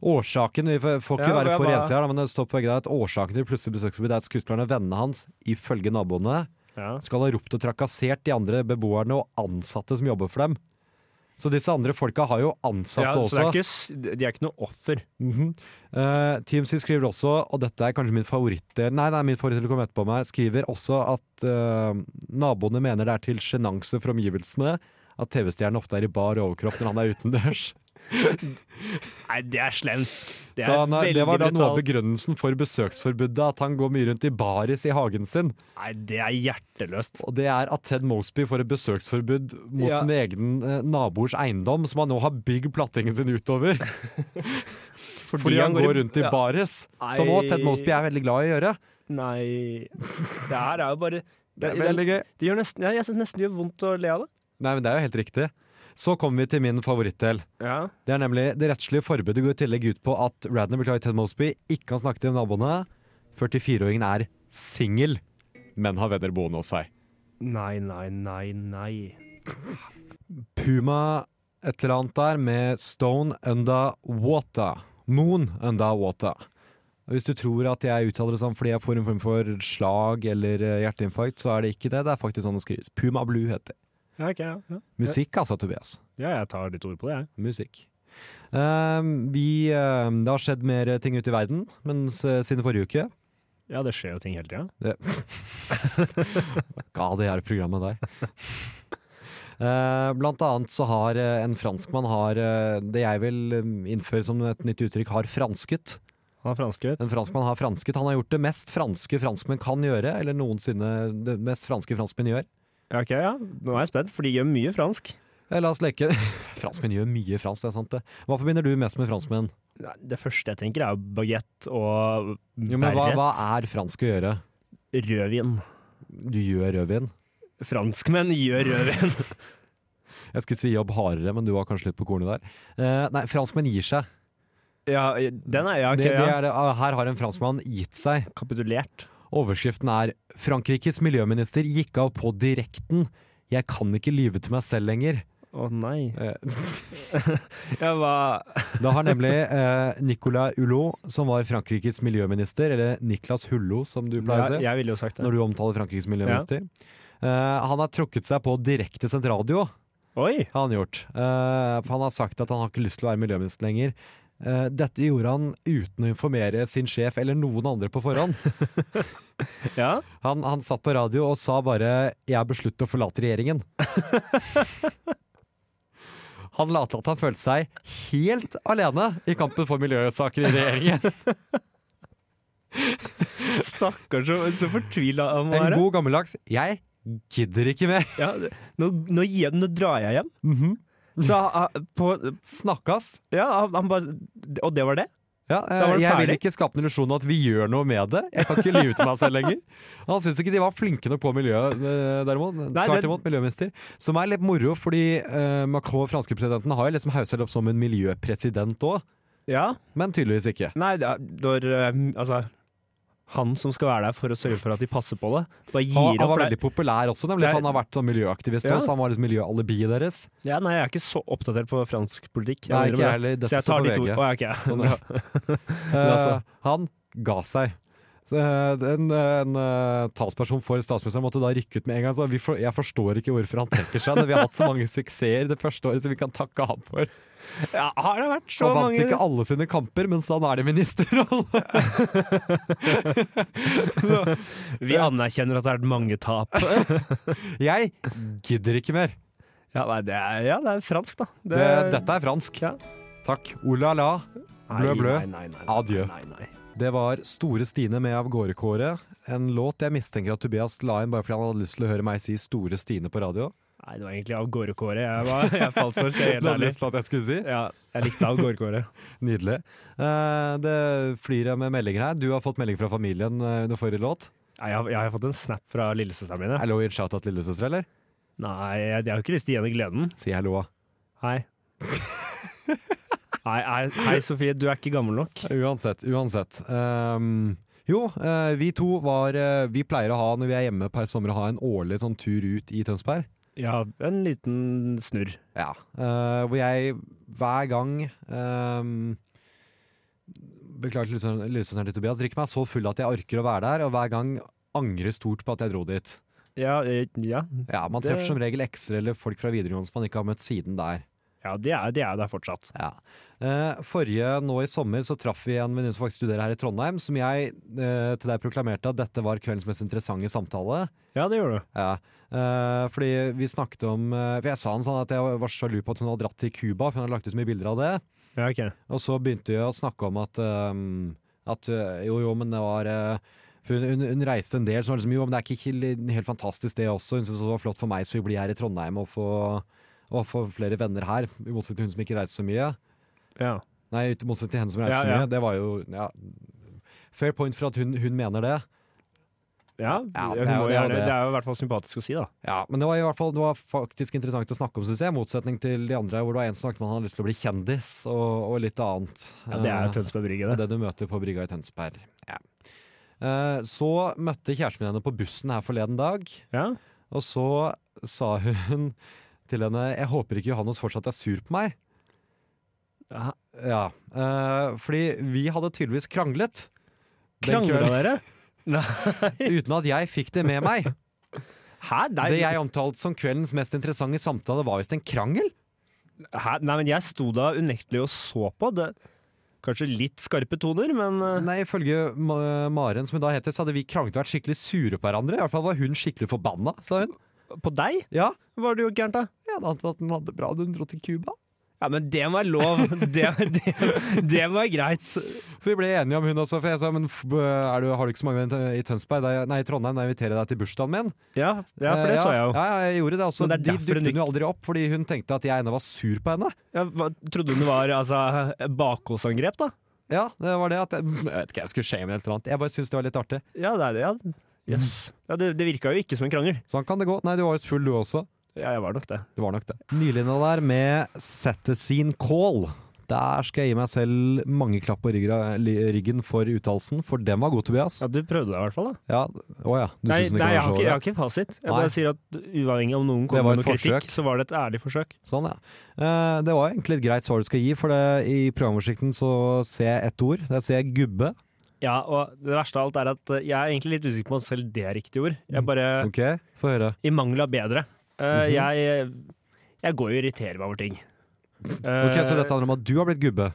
Speaker 5: Årsaken Vi får får ikke
Speaker 6: Ja,
Speaker 5: være
Speaker 6: jeg
Speaker 5: for
Speaker 6: bare-
Speaker 5: ensidige her, da, men det står på begge der at årsaken til plutselig besøksforbud er at skuespillerne og vennene hans, ifølge naboene,
Speaker 6: Ja.
Speaker 5: skal ha ropt og trakassert de andre beboerne og ansatte som jobber for dem. Så disse andre folka har jo ansatte
Speaker 6: Ja, så
Speaker 5: også.
Speaker 6: det er ikke, s- de er ikke noe offer.
Speaker 5: Mhm. Eh, TMC skriver også, og dette er kanskje min favorittdel Nei, det er min favorittdel kommer etterpå meg. Skriver også at eh, naboene mener det er til sjenanse for omgivelsene at TV-stjernen ofte er i bar overkropp når han er utendørs.
Speaker 6: Nei, det er slemt. Det er
Speaker 5: Så han, er-
Speaker 6: veldig
Speaker 5: det var da noe av
Speaker 6: brutalt.
Speaker 5: begrunnelsen for besøksforbudet, at han går mye rundt i baris i hagen sin.
Speaker 6: Nei, det er hjerteløst.
Speaker 5: Og det er at Ted Mosby får et besøksforbud mot
Speaker 6: Ja.
Speaker 5: sin egen eh, naboers eiendom, som han nå har bygd plattingen sin utover.
Speaker 6: Fordi,
Speaker 5: Fordi han går rundt i
Speaker 6: ja.
Speaker 5: baris. Som òg Ted Mosby er veldig glad i å gjøre.
Speaker 6: Nei Det her er jo bare det,
Speaker 5: Det er veldig gøy.
Speaker 6: det gjør nesten, ja, Jeg syns nesten det gjør vondt å le av det.
Speaker 5: Nei, men det er jo helt riktig. Så kommer vi til min favorittdel.
Speaker 6: Ja.
Speaker 5: Det er nemlig det rettslige forbudet går i tillegg ut på at Radner beklager Ted Mosby, ikke kan snakke til naboene. 44-åringen er singel, men har venner boende hos seg.
Speaker 6: Nei, nei, nei, nei.
Speaker 5: Puma et eller annet der med Stone Under Water. Moon Under Water. Og Hvis du tror at jeg uttaler det sånn fordi jeg får en form for slag eller eh, hjerteinfarkt, så er det ikke det. Det er faktisk sånn det skrives. Puma Blue heter det.
Speaker 6: Ja, ok, ja, ja.
Speaker 5: Musikk, altså, Tobias.
Speaker 6: ja, jeg tar ditt ord på det, jeg.
Speaker 5: musikk. Ehm, vi, ehm, det har skjedd mer ting ute i verden mens, eh, siden forrige uke.
Speaker 6: Ja, det skjer jo ting hele tida.
Speaker 5: Ga det her programmet der. Eh, blant annet så har eh, en franskmann har eh, det jeg vil eh, innføre som et nytt uttrykk, har fransket.
Speaker 6: Han er franskutt.
Speaker 5: En franskmann har fransket. Han har gjort det mest franske franskmenn kan gjøre, eller noensinne det mest franske franskmenn gjør.
Speaker 6: Ja, ok, ja. Nå er jeg spent, for de gjør mye fransk.
Speaker 5: Eh, La oss leke. Franskmenn gjør mye fransk, det er sant det. Hva forbinder du mest med franskmenn?
Speaker 6: Nei, Det første jeg tenker, er jo baguette og
Speaker 5: Jo, men hva,
Speaker 6: berrett.
Speaker 5: hva er fransk å gjøre?
Speaker 6: Rødvin.
Speaker 5: Du gjør rødvin.
Speaker 6: Franskmenn gjør rødvin.
Speaker 5: Jeg skulle si jobb hardere, men du var kanskje litt på kornet der. Eh, nei, franskmenn gir seg.
Speaker 6: ja, den er ja, ok,
Speaker 5: det, det
Speaker 6: ja.
Speaker 5: er det, ah, her har en franskmann gitt seg.
Speaker 6: Kapitulert.
Speaker 5: Overskriften er 'Frankrikes miljøminister gikk av på direkten'. Jeg kan ikke lyve til meg selv lenger.
Speaker 6: Å nei.
Speaker 5: Eh,
Speaker 6: Jeg var
Speaker 5: Da har nemlig eh, Nicolas Hulot, som var Frankrikes miljøminister, eller Niklas Hullo, som du pleier å
Speaker 6: jeg,
Speaker 5: si
Speaker 6: jeg ville jo sagt det.
Speaker 5: når du omtaler Frankrikes miljøminister, eh, han har trukket seg på direkte sentralradio.
Speaker 6: Oi!
Speaker 5: har han gjort. Eh, for han har sagt at han har ikke lyst til å være miljøminister lenger. Eh, dette gjorde han uten å informere sin sjef eller noen andre på forhånd.
Speaker 6: Ja.
Speaker 5: Han, han satt på radio og sa bare 'jeg har besluttet å forlate regjeringen'. Han la til at han følte seg helt alene i kampen for miljøsaker i regjeringen.
Speaker 6: Stakkars, så, så fortvila han må
Speaker 5: En
Speaker 6: være.
Speaker 5: god gammeldags 'jeg gidder ikke mer'.
Speaker 6: Ja, nå, nå, gir jeg- nå drar jeg hjem. Så ah, på,
Speaker 5: Snakkas.
Speaker 6: Ja, han- han bare Og det var det?
Speaker 5: Ja,
Speaker 6: Da var
Speaker 5: eh,
Speaker 6: det
Speaker 5: jeg vil
Speaker 6: ferdig.
Speaker 5: ikke skape en illusjon om at vi gjør noe med det. Jeg kan ikke lyve til meg selv lenger. Han syns ikke de var flinke nok på miljøet, eh, derimot.
Speaker 6: Nei,
Speaker 5: Tvert
Speaker 6: det-
Speaker 5: imot, miljøminister. Som er litt moro, fordi eh, Macron, franske presidenten, har jo liksom hauset opp som en miljøpresident òg.
Speaker 6: Ja.
Speaker 5: Men tydeligvis ikke.
Speaker 6: Nei, det er, når eh, Altså, han som skal være der for å sørge for at de passer på det, bare gir
Speaker 5: Han, han
Speaker 6: opp.
Speaker 5: var
Speaker 6: for det
Speaker 5: veldig populær også, nemlig.
Speaker 6: Det er-
Speaker 5: for Han har vært sånn miljøaktivist
Speaker 6: Ja.
Speaker 5: også, så han var liksom miljøalibiet deres.
Speaker 6: er- ja, nei, jeg er ikke så oppdatert på fransk
Speaker 5: Nei,
Speaker 6: politikk.
Speaker 5: ikke
Speaker 6: innrømmer
Speaker 5: jeg heller.
Speaker 6: det.
Speaker 5: Dette
Speaker 6: Så jeg
Speaker 5: står
Speaker 6: tar
Speaker 5: på
Speaker 6: ditt ord.
Speaker 5: VG.
Speaker 6: Å, ja, ok.
Speaker 5: Sånn,
Speaker 6: Bra.
Speaker 5: Eh,
Speaker 6: altså.
Speaker 5: Han ga seg. Så, eh, En, en eh, talsperson for statsministeren måtte da rykke ut med en gang. Så vi for, jeg forstår ikke hvorfor han trekker seg. når Vi har hatt så mange suksesser det første året som vi kan takke han for.
Speaker 6: Ja, har det vært så
Speaker 5: Han vant
Speaker 6: mange
Speaker 5: ikke alle sine kamper, mens han er i ministerrollen.
Speaker 6: Vi anerkjenner at det har vært mange tap.
Speaker 5: Jeg gidder ikke mer.
Speaker 6: Ja, nei, det er, ja, det er fransk, da. Det-
Speaker 5: Det, dette er fransk.
Speaker 6: Ja.
Speaker 5: Takk. Ola la. blø, blø.
Speaker 6: Nei, nei, nei, nei,
Speaker 5: Adjø.
Speaker 6: Nei, nei.
Speaker 5: Det var Store Stine med Av gårde Kåre. En låt jeg mistenker at Tobias la inn bare fordi han hadde lyst til å høre meg si Store Stine på radio.
Speaker 6: Nei, det var egentlig av gårdekåret jeg, var- jeg falt for, skal jeg
Speaker 5: Det
Speaker 6: være helt
Speaker 5: hadde
Speaker 6: ærlig.
Speaker 5: lyst til at jeg skulle si.
Speaker 6: Ja, jeg likte av gårdekåret.
Speaker 5: Nydelig. Eh, det flyr jeg med meldinger her. Du har fått melding fra familien eh, under forrige låt.
Speaker 6: Nei, Jeg, har- jeg har fått en snap fra lillesøsteren min. jeg.
Speaker 5: Hallo i en shout-out, lillesøster, eller?
Speaker 6: Nei, jeg, jeg har ikke lyst til å gi henne gleden.
Speaker 5: Si hallo. da.
Speaker 6: Hei. Hei, hei, hei Sofie, du er ikke gammel nok.
Speaker 5: Uansett, uansett. Ehm, Jo, eh, vi to var eh, Vi pleier å ha, når vi er hjemme per sommer, å ha en årlig sånn tur ut i Tønsberg.
Speaker 6: Ja, en liten snurr.
Speaker 5: Ja. eh, hvor jeg hver gang ehm, Beklager til lytteren- lytteren til Tobias, drikker meg så full at jeg orker å være der, og hver gang angrer stort på at jeg dro dit.
Speaker 6: Ja, eh, ja.
Speaker 5: Ja, Man
Speaker 6: Det-
Speaker 5: treffer som regel ekser eller folk fra videregående som man ikke har møtt siden der.
Speaker 6: ja de, er, de er der fortsatt.
Speaker 5: Ja. Eh, forrige nå i sommer så traff vi en venninne som faktisk studerer her i Trondheim, som jeg eh, til deg proklamerte at dette var kveldens mest interessante samtale.
Speaker 6: Ja, det gjør du.
Speaker 5: Ja. Eh, fordi vi snakket om eh, For jeg sa en sånn at jeg var så sjalu på at hun hadde dratt til Cuba, for hun hadde lagt ut så mye bilder av det.
Speaker 6: Ja, ok.
Speaker 5: Og så begynte vi å snakke om at, ehm, at eh, jo, jo, men det var eh, for hun, hun, hun reiste en del, så var det liksom, jo, men det er ikke helt- helt fantastisk det også. Hun syntes det var flott for meg som vil bli her i Trondheim og få, og få flere venner her. I motsetning til hun som ikke reiser så mye.
Speaker 6: Ja.
Speaker 5: Nei, i motsetning til henne som reiser
Speaker 6: Ja,
Speaker 5: så
Speaker 6: ja.
Speaker 5: mye. Det var jo ja. Fair point for at hun, hun mener det.
Speaker 6: Ja,
Speaker 5: Ja,
Speaker 6: hun
Speaker 5: det er jo-
Speaker 6: må
Speaker 5: det er jo
Speaker 6: gjerne-
Speaker 5: det.
Speaker 6: det er jo i hvert fall sympatisk å si, da.
Speaker 5: Ja, Men det var i hvert fall det var faktisk interessant å snakke om, syns jeg. I motsetning til de andre, hvor det var en som snakket om at han hadde lyst til å bli kjendis, og, og litt annet.
Speaker 6: Ja, det er
Speaker 5: Eh,
Speaker 6: Tønsberg Brygge,
Speaker 5: Det
Speaker 6: det.
Speaker 5: er det du møter på brygga i Tønsberg. Ja. Eh, Så møtte kjæresten min henne på bussen her forleden dag,
Speaker 6: Ja,
Speaker 5: og så sa hun til henne Jeg håper ikke Johannes fortsatt er sur på meg.
Speaker 6: Aha.
Speaker 5: Ja, eh, fordi vi hadde tydeligvis kranglet. den
Speaker 6: Krangla
Speaker 5: kvelden,
Speaker 6: dere?
Speaker 5: Uten at jeg fikk det med meg.
Speaker 6: Hæ? Nei,
Speaker 5: Det jeg omtalte som kveldens mest interessante samtale, var visst en krangel.
Speaker 6: hæ? Nei, men jeg sto da unektelig og så på. Det, kanskje litt skarpe toner, men eh,
Speaker 5: Nei, ifølge Ma- Maren, som hun da heter, så hadde vi kranglet og vært skikkelig sure på hverandre. I hvert fall var hun skikkelig forbanna, sa hun.
Speaker 6: eh, på deg
Speaker 5: Ja,
Speaker 6: var det jo gærent, da.
Speaker 5: jeg hadde antatt at hun hadde det bra da hun dro til Cuba.
Speaker 6: Ja, men det var lov. Det, det, det var greit.
Speaker 5: For Vi ble enige om hun også, for jeg sa men f- er du, har du ikke så mange venner i Tønsberg? Da jeg- Nei, i Trondheim, da inviterer jeg deg til bursdagen min.
Speaker 6: Ja, ja
Speaker 5: Eh,
Speaker 6: for det så jeg jo.
Speaker 5: Ja, ja, jeg gjorde det også.
Speaker 6: Men det er
Speaker 5: De
Speaker 6: derfor
Speaker 5: dukket hun
Speaker 6: hun
Speaker 5: jo aldri opp, fordi hun tenkte at jeg ennå var sur på henne.
Speaker 6: Ja, hva, trodde hun det var altså, bakholdsangrep, da?
Speaker 5: Ja, det var det at jeg, jeg vet ikke, jeg skulle shame eller noe annet. Jeg bare syntes det var litt artig.
Speaker 6: Ja, det er det. Ja. Yes. Ja, det, det virka jo ikke som en krangel.
Speaker 5: Sånn kan det gå. Nei, du var jo full du også.
Speaker 6: Ja, jeg var nok det.
Speaker 5: Det var nok det. Nylinja der med Set the Scene Call. Der skal jeg gi meg selv mange klapp på ryggen- ryggen for uttalelsen, for den var god, Tobias.
Speaker 6: Ja, Du prøvde det i hvert fall, da.
Speaker 5: Ja, å ja. Du
Speaker 6: Nei,
Speaker 5: synes den ikke var så
Speaker 6: nei jeg, har ikke,
Speaker 5: ålreit?
Speaker 6: jeg har ikke fasit. Jeg
Speaker 5: Nei.
Speaker 6: bare sier at uavhengig om noen
Speaker 5: Det
Speaker 6: kommer
Speaker 5: var
Speaker 6: med noe
Speaker 5: et forsøk.
Speaker 6: kritikk, så var det et ærlig forsøk.
Speaker 5: Sånn, ja. Eh, det var egentlig et greit svar du skal gi, for det, i programoversikten så ser jeg ett ord. Der ser jeg gubbe.
Speaker 6: Ja, og det verste av alt er at eh, jeg er egentlig litt usikker på om selv det er riktig ord.
Speaker 5: Mm.
Speaker 6: Jeg bare
Speaker 5: Ok, Få høre.
Speaker 6: I mangel av bedre.
Speaker 5: Mhm.
Speaker 6: Eh, jeg, jeg går jo og irriterer meg over ting.
Speaker 5: Ok, Så
Speaker 6: Eh,
Speaker 5: dette handler om at du har blitt gubbe.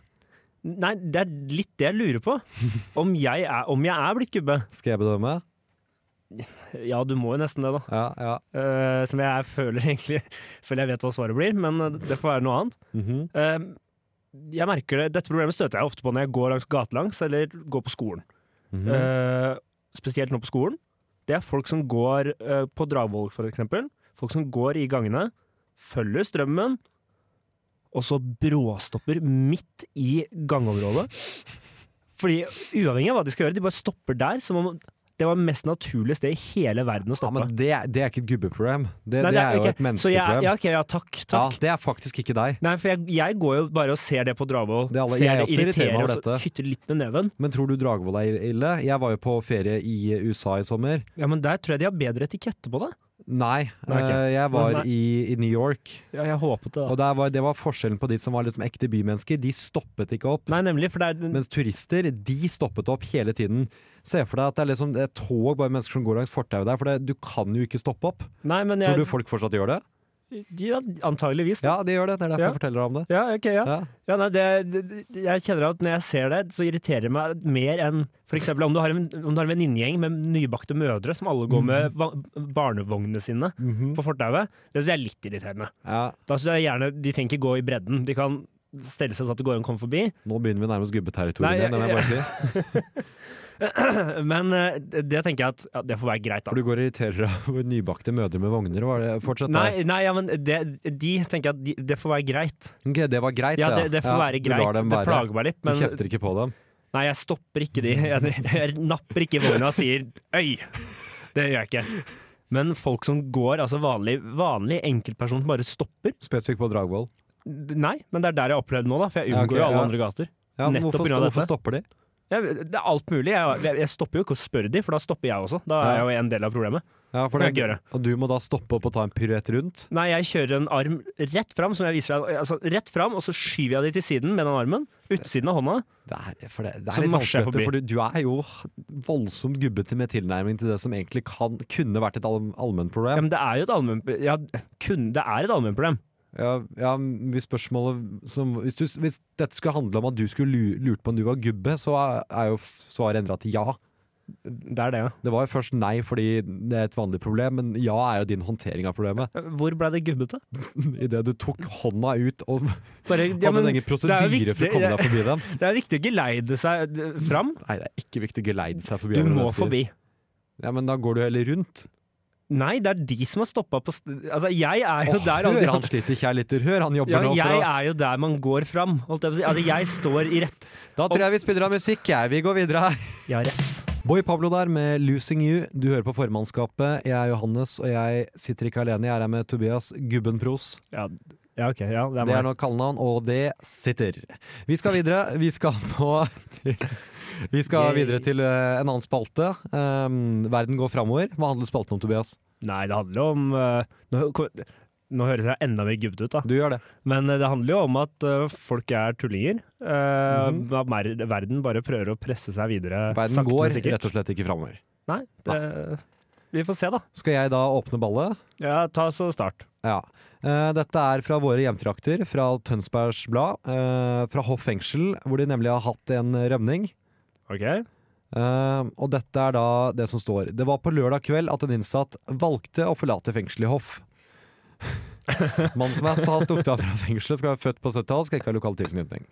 Speaker 6: Nei, det er litt det jeg lurer på. Om jeg er, om jeg er blitt gubbe.
Speaker 5: Skal jeg bedømme?
Speaker 6: Ja, du må jo nesten det, da.
Speaker 5: Ja, ja.
Speaker 6: Eh, som jeg føler egentlig Føler jeg vet hva svaret blir, men eh, det får være noe annet.
Speaker 5: Mhm.
Speaker 6: Eh, jeg merker det, Dette problemet støter jeg ofte på når jeg går langs gatelangs eller går på skolen.
Speaker 5: Mhm.
Speaker 6: Eh, spesielt nå på skolen. Det er folk som går eh, på Dragvoll, for eksempel. Folk som går i gangene, følger strømmen, og så bråstopper midt i gangområdet. Fordi uavhengig av hva de skal gjøre, de bare stopper der. Som om det var det mest naturlige sted i hele verden å
Speaker 5: ja,
Speaker 6: stoppe.
Speaker 5: men det, er- det er ikke et gubbeproblem. Det,
Speaker 6: Nei,
Speaker 5: det, er jo
Speaker 6: ikke-
Speaker 5: et
Speaker 6: Så jeg,
Speaker 5: menneskeproblem.
Speaker 6: ja, ok, ja, takk, takk.
Speaker 5: Ja, det er faktisk ikke deg.
Speaker 6: Nei, for jeg, jeg går jo bare og ser det på Dragvoll.
Speaker 5: Det er alle-
Speaker 6: ser
Speaker 5: jeg
Speaker 6: det,
Speaker 5: også irriterer meg over
Speaker 6: og så
Speaker 5: dette.
Speaker 6: Hytter litt med neven.
Speaker 5: Men tror du Dragvoll er ille? Jeg var jo på ferie i USA i sommer.
Speaker 6: Ja, men der tror jeg de har bedre etikette på det.
Speaker 5: Nei,
Speaker 6: Nei, ok.
Speaker 5: eh, jeg var
Speaker 6: Men nei.
Speaker 5: i, i New York.
Speaker 6: Ja, jeg håpet det.
Speaker 5: Og
Speaker 6: da.
Speaker 5: der var, det var forskjellen på de som var liksom ekte bymennesker. De stoppet ikke opp.
Speaker 6: Nei, nemlig, for det er
Speaker 5: Mens turister, de stoppet opp hele tiden. Se for deg at det er liksom det er tog bare mennesker som går langs fortauet der, for det, du kan jo ikke stoppe opp.
Speaker 6: Nei, men jeg,
Speaker 5: Tror du folk fortsatt gjør det?
Speaker 6: ja, antageligvis. da.
Speaker 5: Ja, de gjør det. Det er derfor
Speaker 6: Ja.
Speaker 5: jeg forteller deg om det.
Speaker 6: Ja, ok, ja.
Speaker 5: Ja.
Speaker 6: ja nei, det, det, det- jeg kjenner at når jeg ser det, så irriterer det meg mer enn for eksempel om du har en, om du har en venninnegjeng med nybakte mødre som alle går med va barnevognene sine på fortauet. Det syns jeg er litt irriterende.
Speaker 5: Mhm. Ja.
Speaker 6: Da synes jeg gjerne De trenger ikke gå i bredden. De kan stelle seg sånn at det går an å komme forbi.
Speaker 5: Nå begynner vi nærmest
Speaker 6: Nei,
Speaker 5: gubbeterritoriet
Speaker 6: jeg-
Speaker 5: igjen, det må jeg bare si.
Speaker 6: Men eh, det det tenker jeg at ja, det får være greit, da.
Speaker 5: For du går og irriterer deg over nybakte mødre med vogner. Var det fortsatt
Speaker 6: Nei, nei ja, men det, de tenker jeg at de, det får være greit.
Speaker 5: Ok, det var greit,
Speaker 6: Ja, det, det får være
Speaker 5: Du lar
Speaker 6: greit.
Speaker 5: dem
Speaker 6: Det
Speaker 5: være.
Speaker 6: plager meg litt,
Speaker 5: Du
Speaker 6: men
Speaker 5: kjefter ikke på dem.
Speaker 6: nei, jeg stopper ikke de. Jeg, jeg napper ikke i vogna og sier øy! Det gjør jeg ikke. Men folk som går, altså vanlig, vanlig enkeltperson som bare stopper
Speaker 5: Spesifikt på Dragvoll.
Speaker 6: Nei, men det er der jeg har opplevd nå, da, for jeg
Speaker 5: Ja,
Speaker 6: unngår
Speaker 5: ok,
Speaker 6: jo alle
Speaker 5: ja.
Speaker 6: andre gater.
Speaker 5: Ja, men
Speaker 6: Nettopp
Speaker 5: hvorfor,
Speaker 6: på grunn av
Speaker 5: hvorfor
Speaker 6: dette.
Speaker 5: stopper de?
Speaker 6: Jeg, det er alt mulig. Jeg, jeg, jeg stopper jo ikke å spørre de, for da stopper jeg også. Da er jeg jo en del av problemet.
Speaker 5: Ja, for
Speaker 6: Kan
Speaker 5: det,
Speaker 6: jeg ikke gjøre.
Speaker 5: og du må da stoppe opp og ta en piruett rundt.
Speaker 6: Nei, jeg kjører en arm rett fram, som jeg viser deg, altså, rett fram, og så skyver jeg de til siden med den armen. Utsiden av hånda.
Speaker 5: Det er, for det, det
Speaker 6: Så
Speaker 5: er litt
Speaker 6: marsjer
Speaker 5: vanskelig,
Speaker 6: jeg forbi.
Speaker 5: for du, du er jo voldsomt gubbete med tilnærming til det som egentlig kan, kunne vært et all,
Speaker 6: Ja,
Speaker 5: allmennproblem.
Speaker 6: men det er jo et allmenn... Ja, kun, det er et allmennproblem.
Speaker 5: Ja, ja, hvis spørsmålet som, hvis, du, hvis dette skulle handle om at du skulle lu- lurt på om du var gubbe, så er, er jo f- svaret endra til ja.
Speaker 6: Det er det, ja.
Speaker 5: Det var jo først nei fordi det er et vanlig problem, men ja er jo din håndtering av problemet.
Speaker 6: Hvor ble det gubbete?
Speaker 5: Idet du tok hånda ut og
Speaker 6: Bare, ja,
Speaker 5: hadde en
Speaker 6: men,
Speaker 5: egen
Speaker 6: det er
Speaker 5: prosedyre
Speaker 6: jo
Speaker 5: for å
Speaker 6: viktig.
Speaker 5: komme deg forbi dem.
Speaker 6: det er viktig å geleide seg eh, fram.
Speaker 5: Nei, det er ikke viktig å geleide seg forbi
Speaker 6: Du
Speaker 5: andre
Speaker 6: må
Speaker 5: mennesker.
Speaker 6: forbi.
Speaker 5: Ja, men da går du heller rundt.
Speaker 6: Nei, det er de som har stoppa på st Altså, jeg er jo
Speaker 5: Åh,
Speaker 6: der alle-
Speaker 5: hør, han sliter kjærligheter. Hør, han jobber
Speaker 6: ja,
Speaker 5: nå. for
Speaker 6: jeg
Speaker 5: å-
Speaker 6: er jo der man går fram, holdt jeg på å si. Altså, jeg står i rett.
Speaker 5: Da tror jeg vi spiller av musikk. Jeg. Vi går videre her.
Speaker 6: Jeg har rett.
Speaker 5: Boy Pablo der med 'Losing You'. Du hører på formannskapet. Jeg er Johannes, og jeg sitter ikke alene. Jeg er her med Tobias Gubbenpros.
Speaker 6: Ja, ja OK. Ja, det er
Speaker 5: Det er
Speaker 6: meg.
Speaker 5: nå kallenavn, og det sitter. Vi skal videre. Vi skal på Vi skal
Speaker 6: Yay.
Speaker 5: videre til eh, en annen spalte. Um, verden går framover. Hva handler spalten om, Tobias?
Speaker 6: Nei, det handler jo om eh, nå, kom- nå høres jeg enda mer gubbete ut, da.
Speaker 5: Du gjør det.
Speaker 6: Men eh, det handler jo om at eh, folk er tullinger. Eh, da mer- Verden bare prøver å presse seg videre.
Speaker 5: Mhm. Verden
Speaker 6: sakte, men
Speaker 5: går
Speaker 6: sikkert.
Speaker 5: rett og Ah. slett ikke framover.
Speaker 6: Nei, det, vi får se, da.
Speaker 5: Skal jeg da åpne ballet?
Speaker 6: Ja, ta så start.
Speaker 5: Ja. Eh, dette er fra våre hjemtrakter, fra Tønsbergs Blad, eh, fra Hoff fengsel, hvor de nemlig har hatt en rømning.
Speaker 6: OK?
Speaker 5: Eh, og dette er da det som står. Det var på lørdag kveld at en innsatt valgte å forlate fengselet i Hoff. Mannen som er har stukket av fra fengselet, skal være født på 70-tallet, skal ikke ha lokal tilknytning.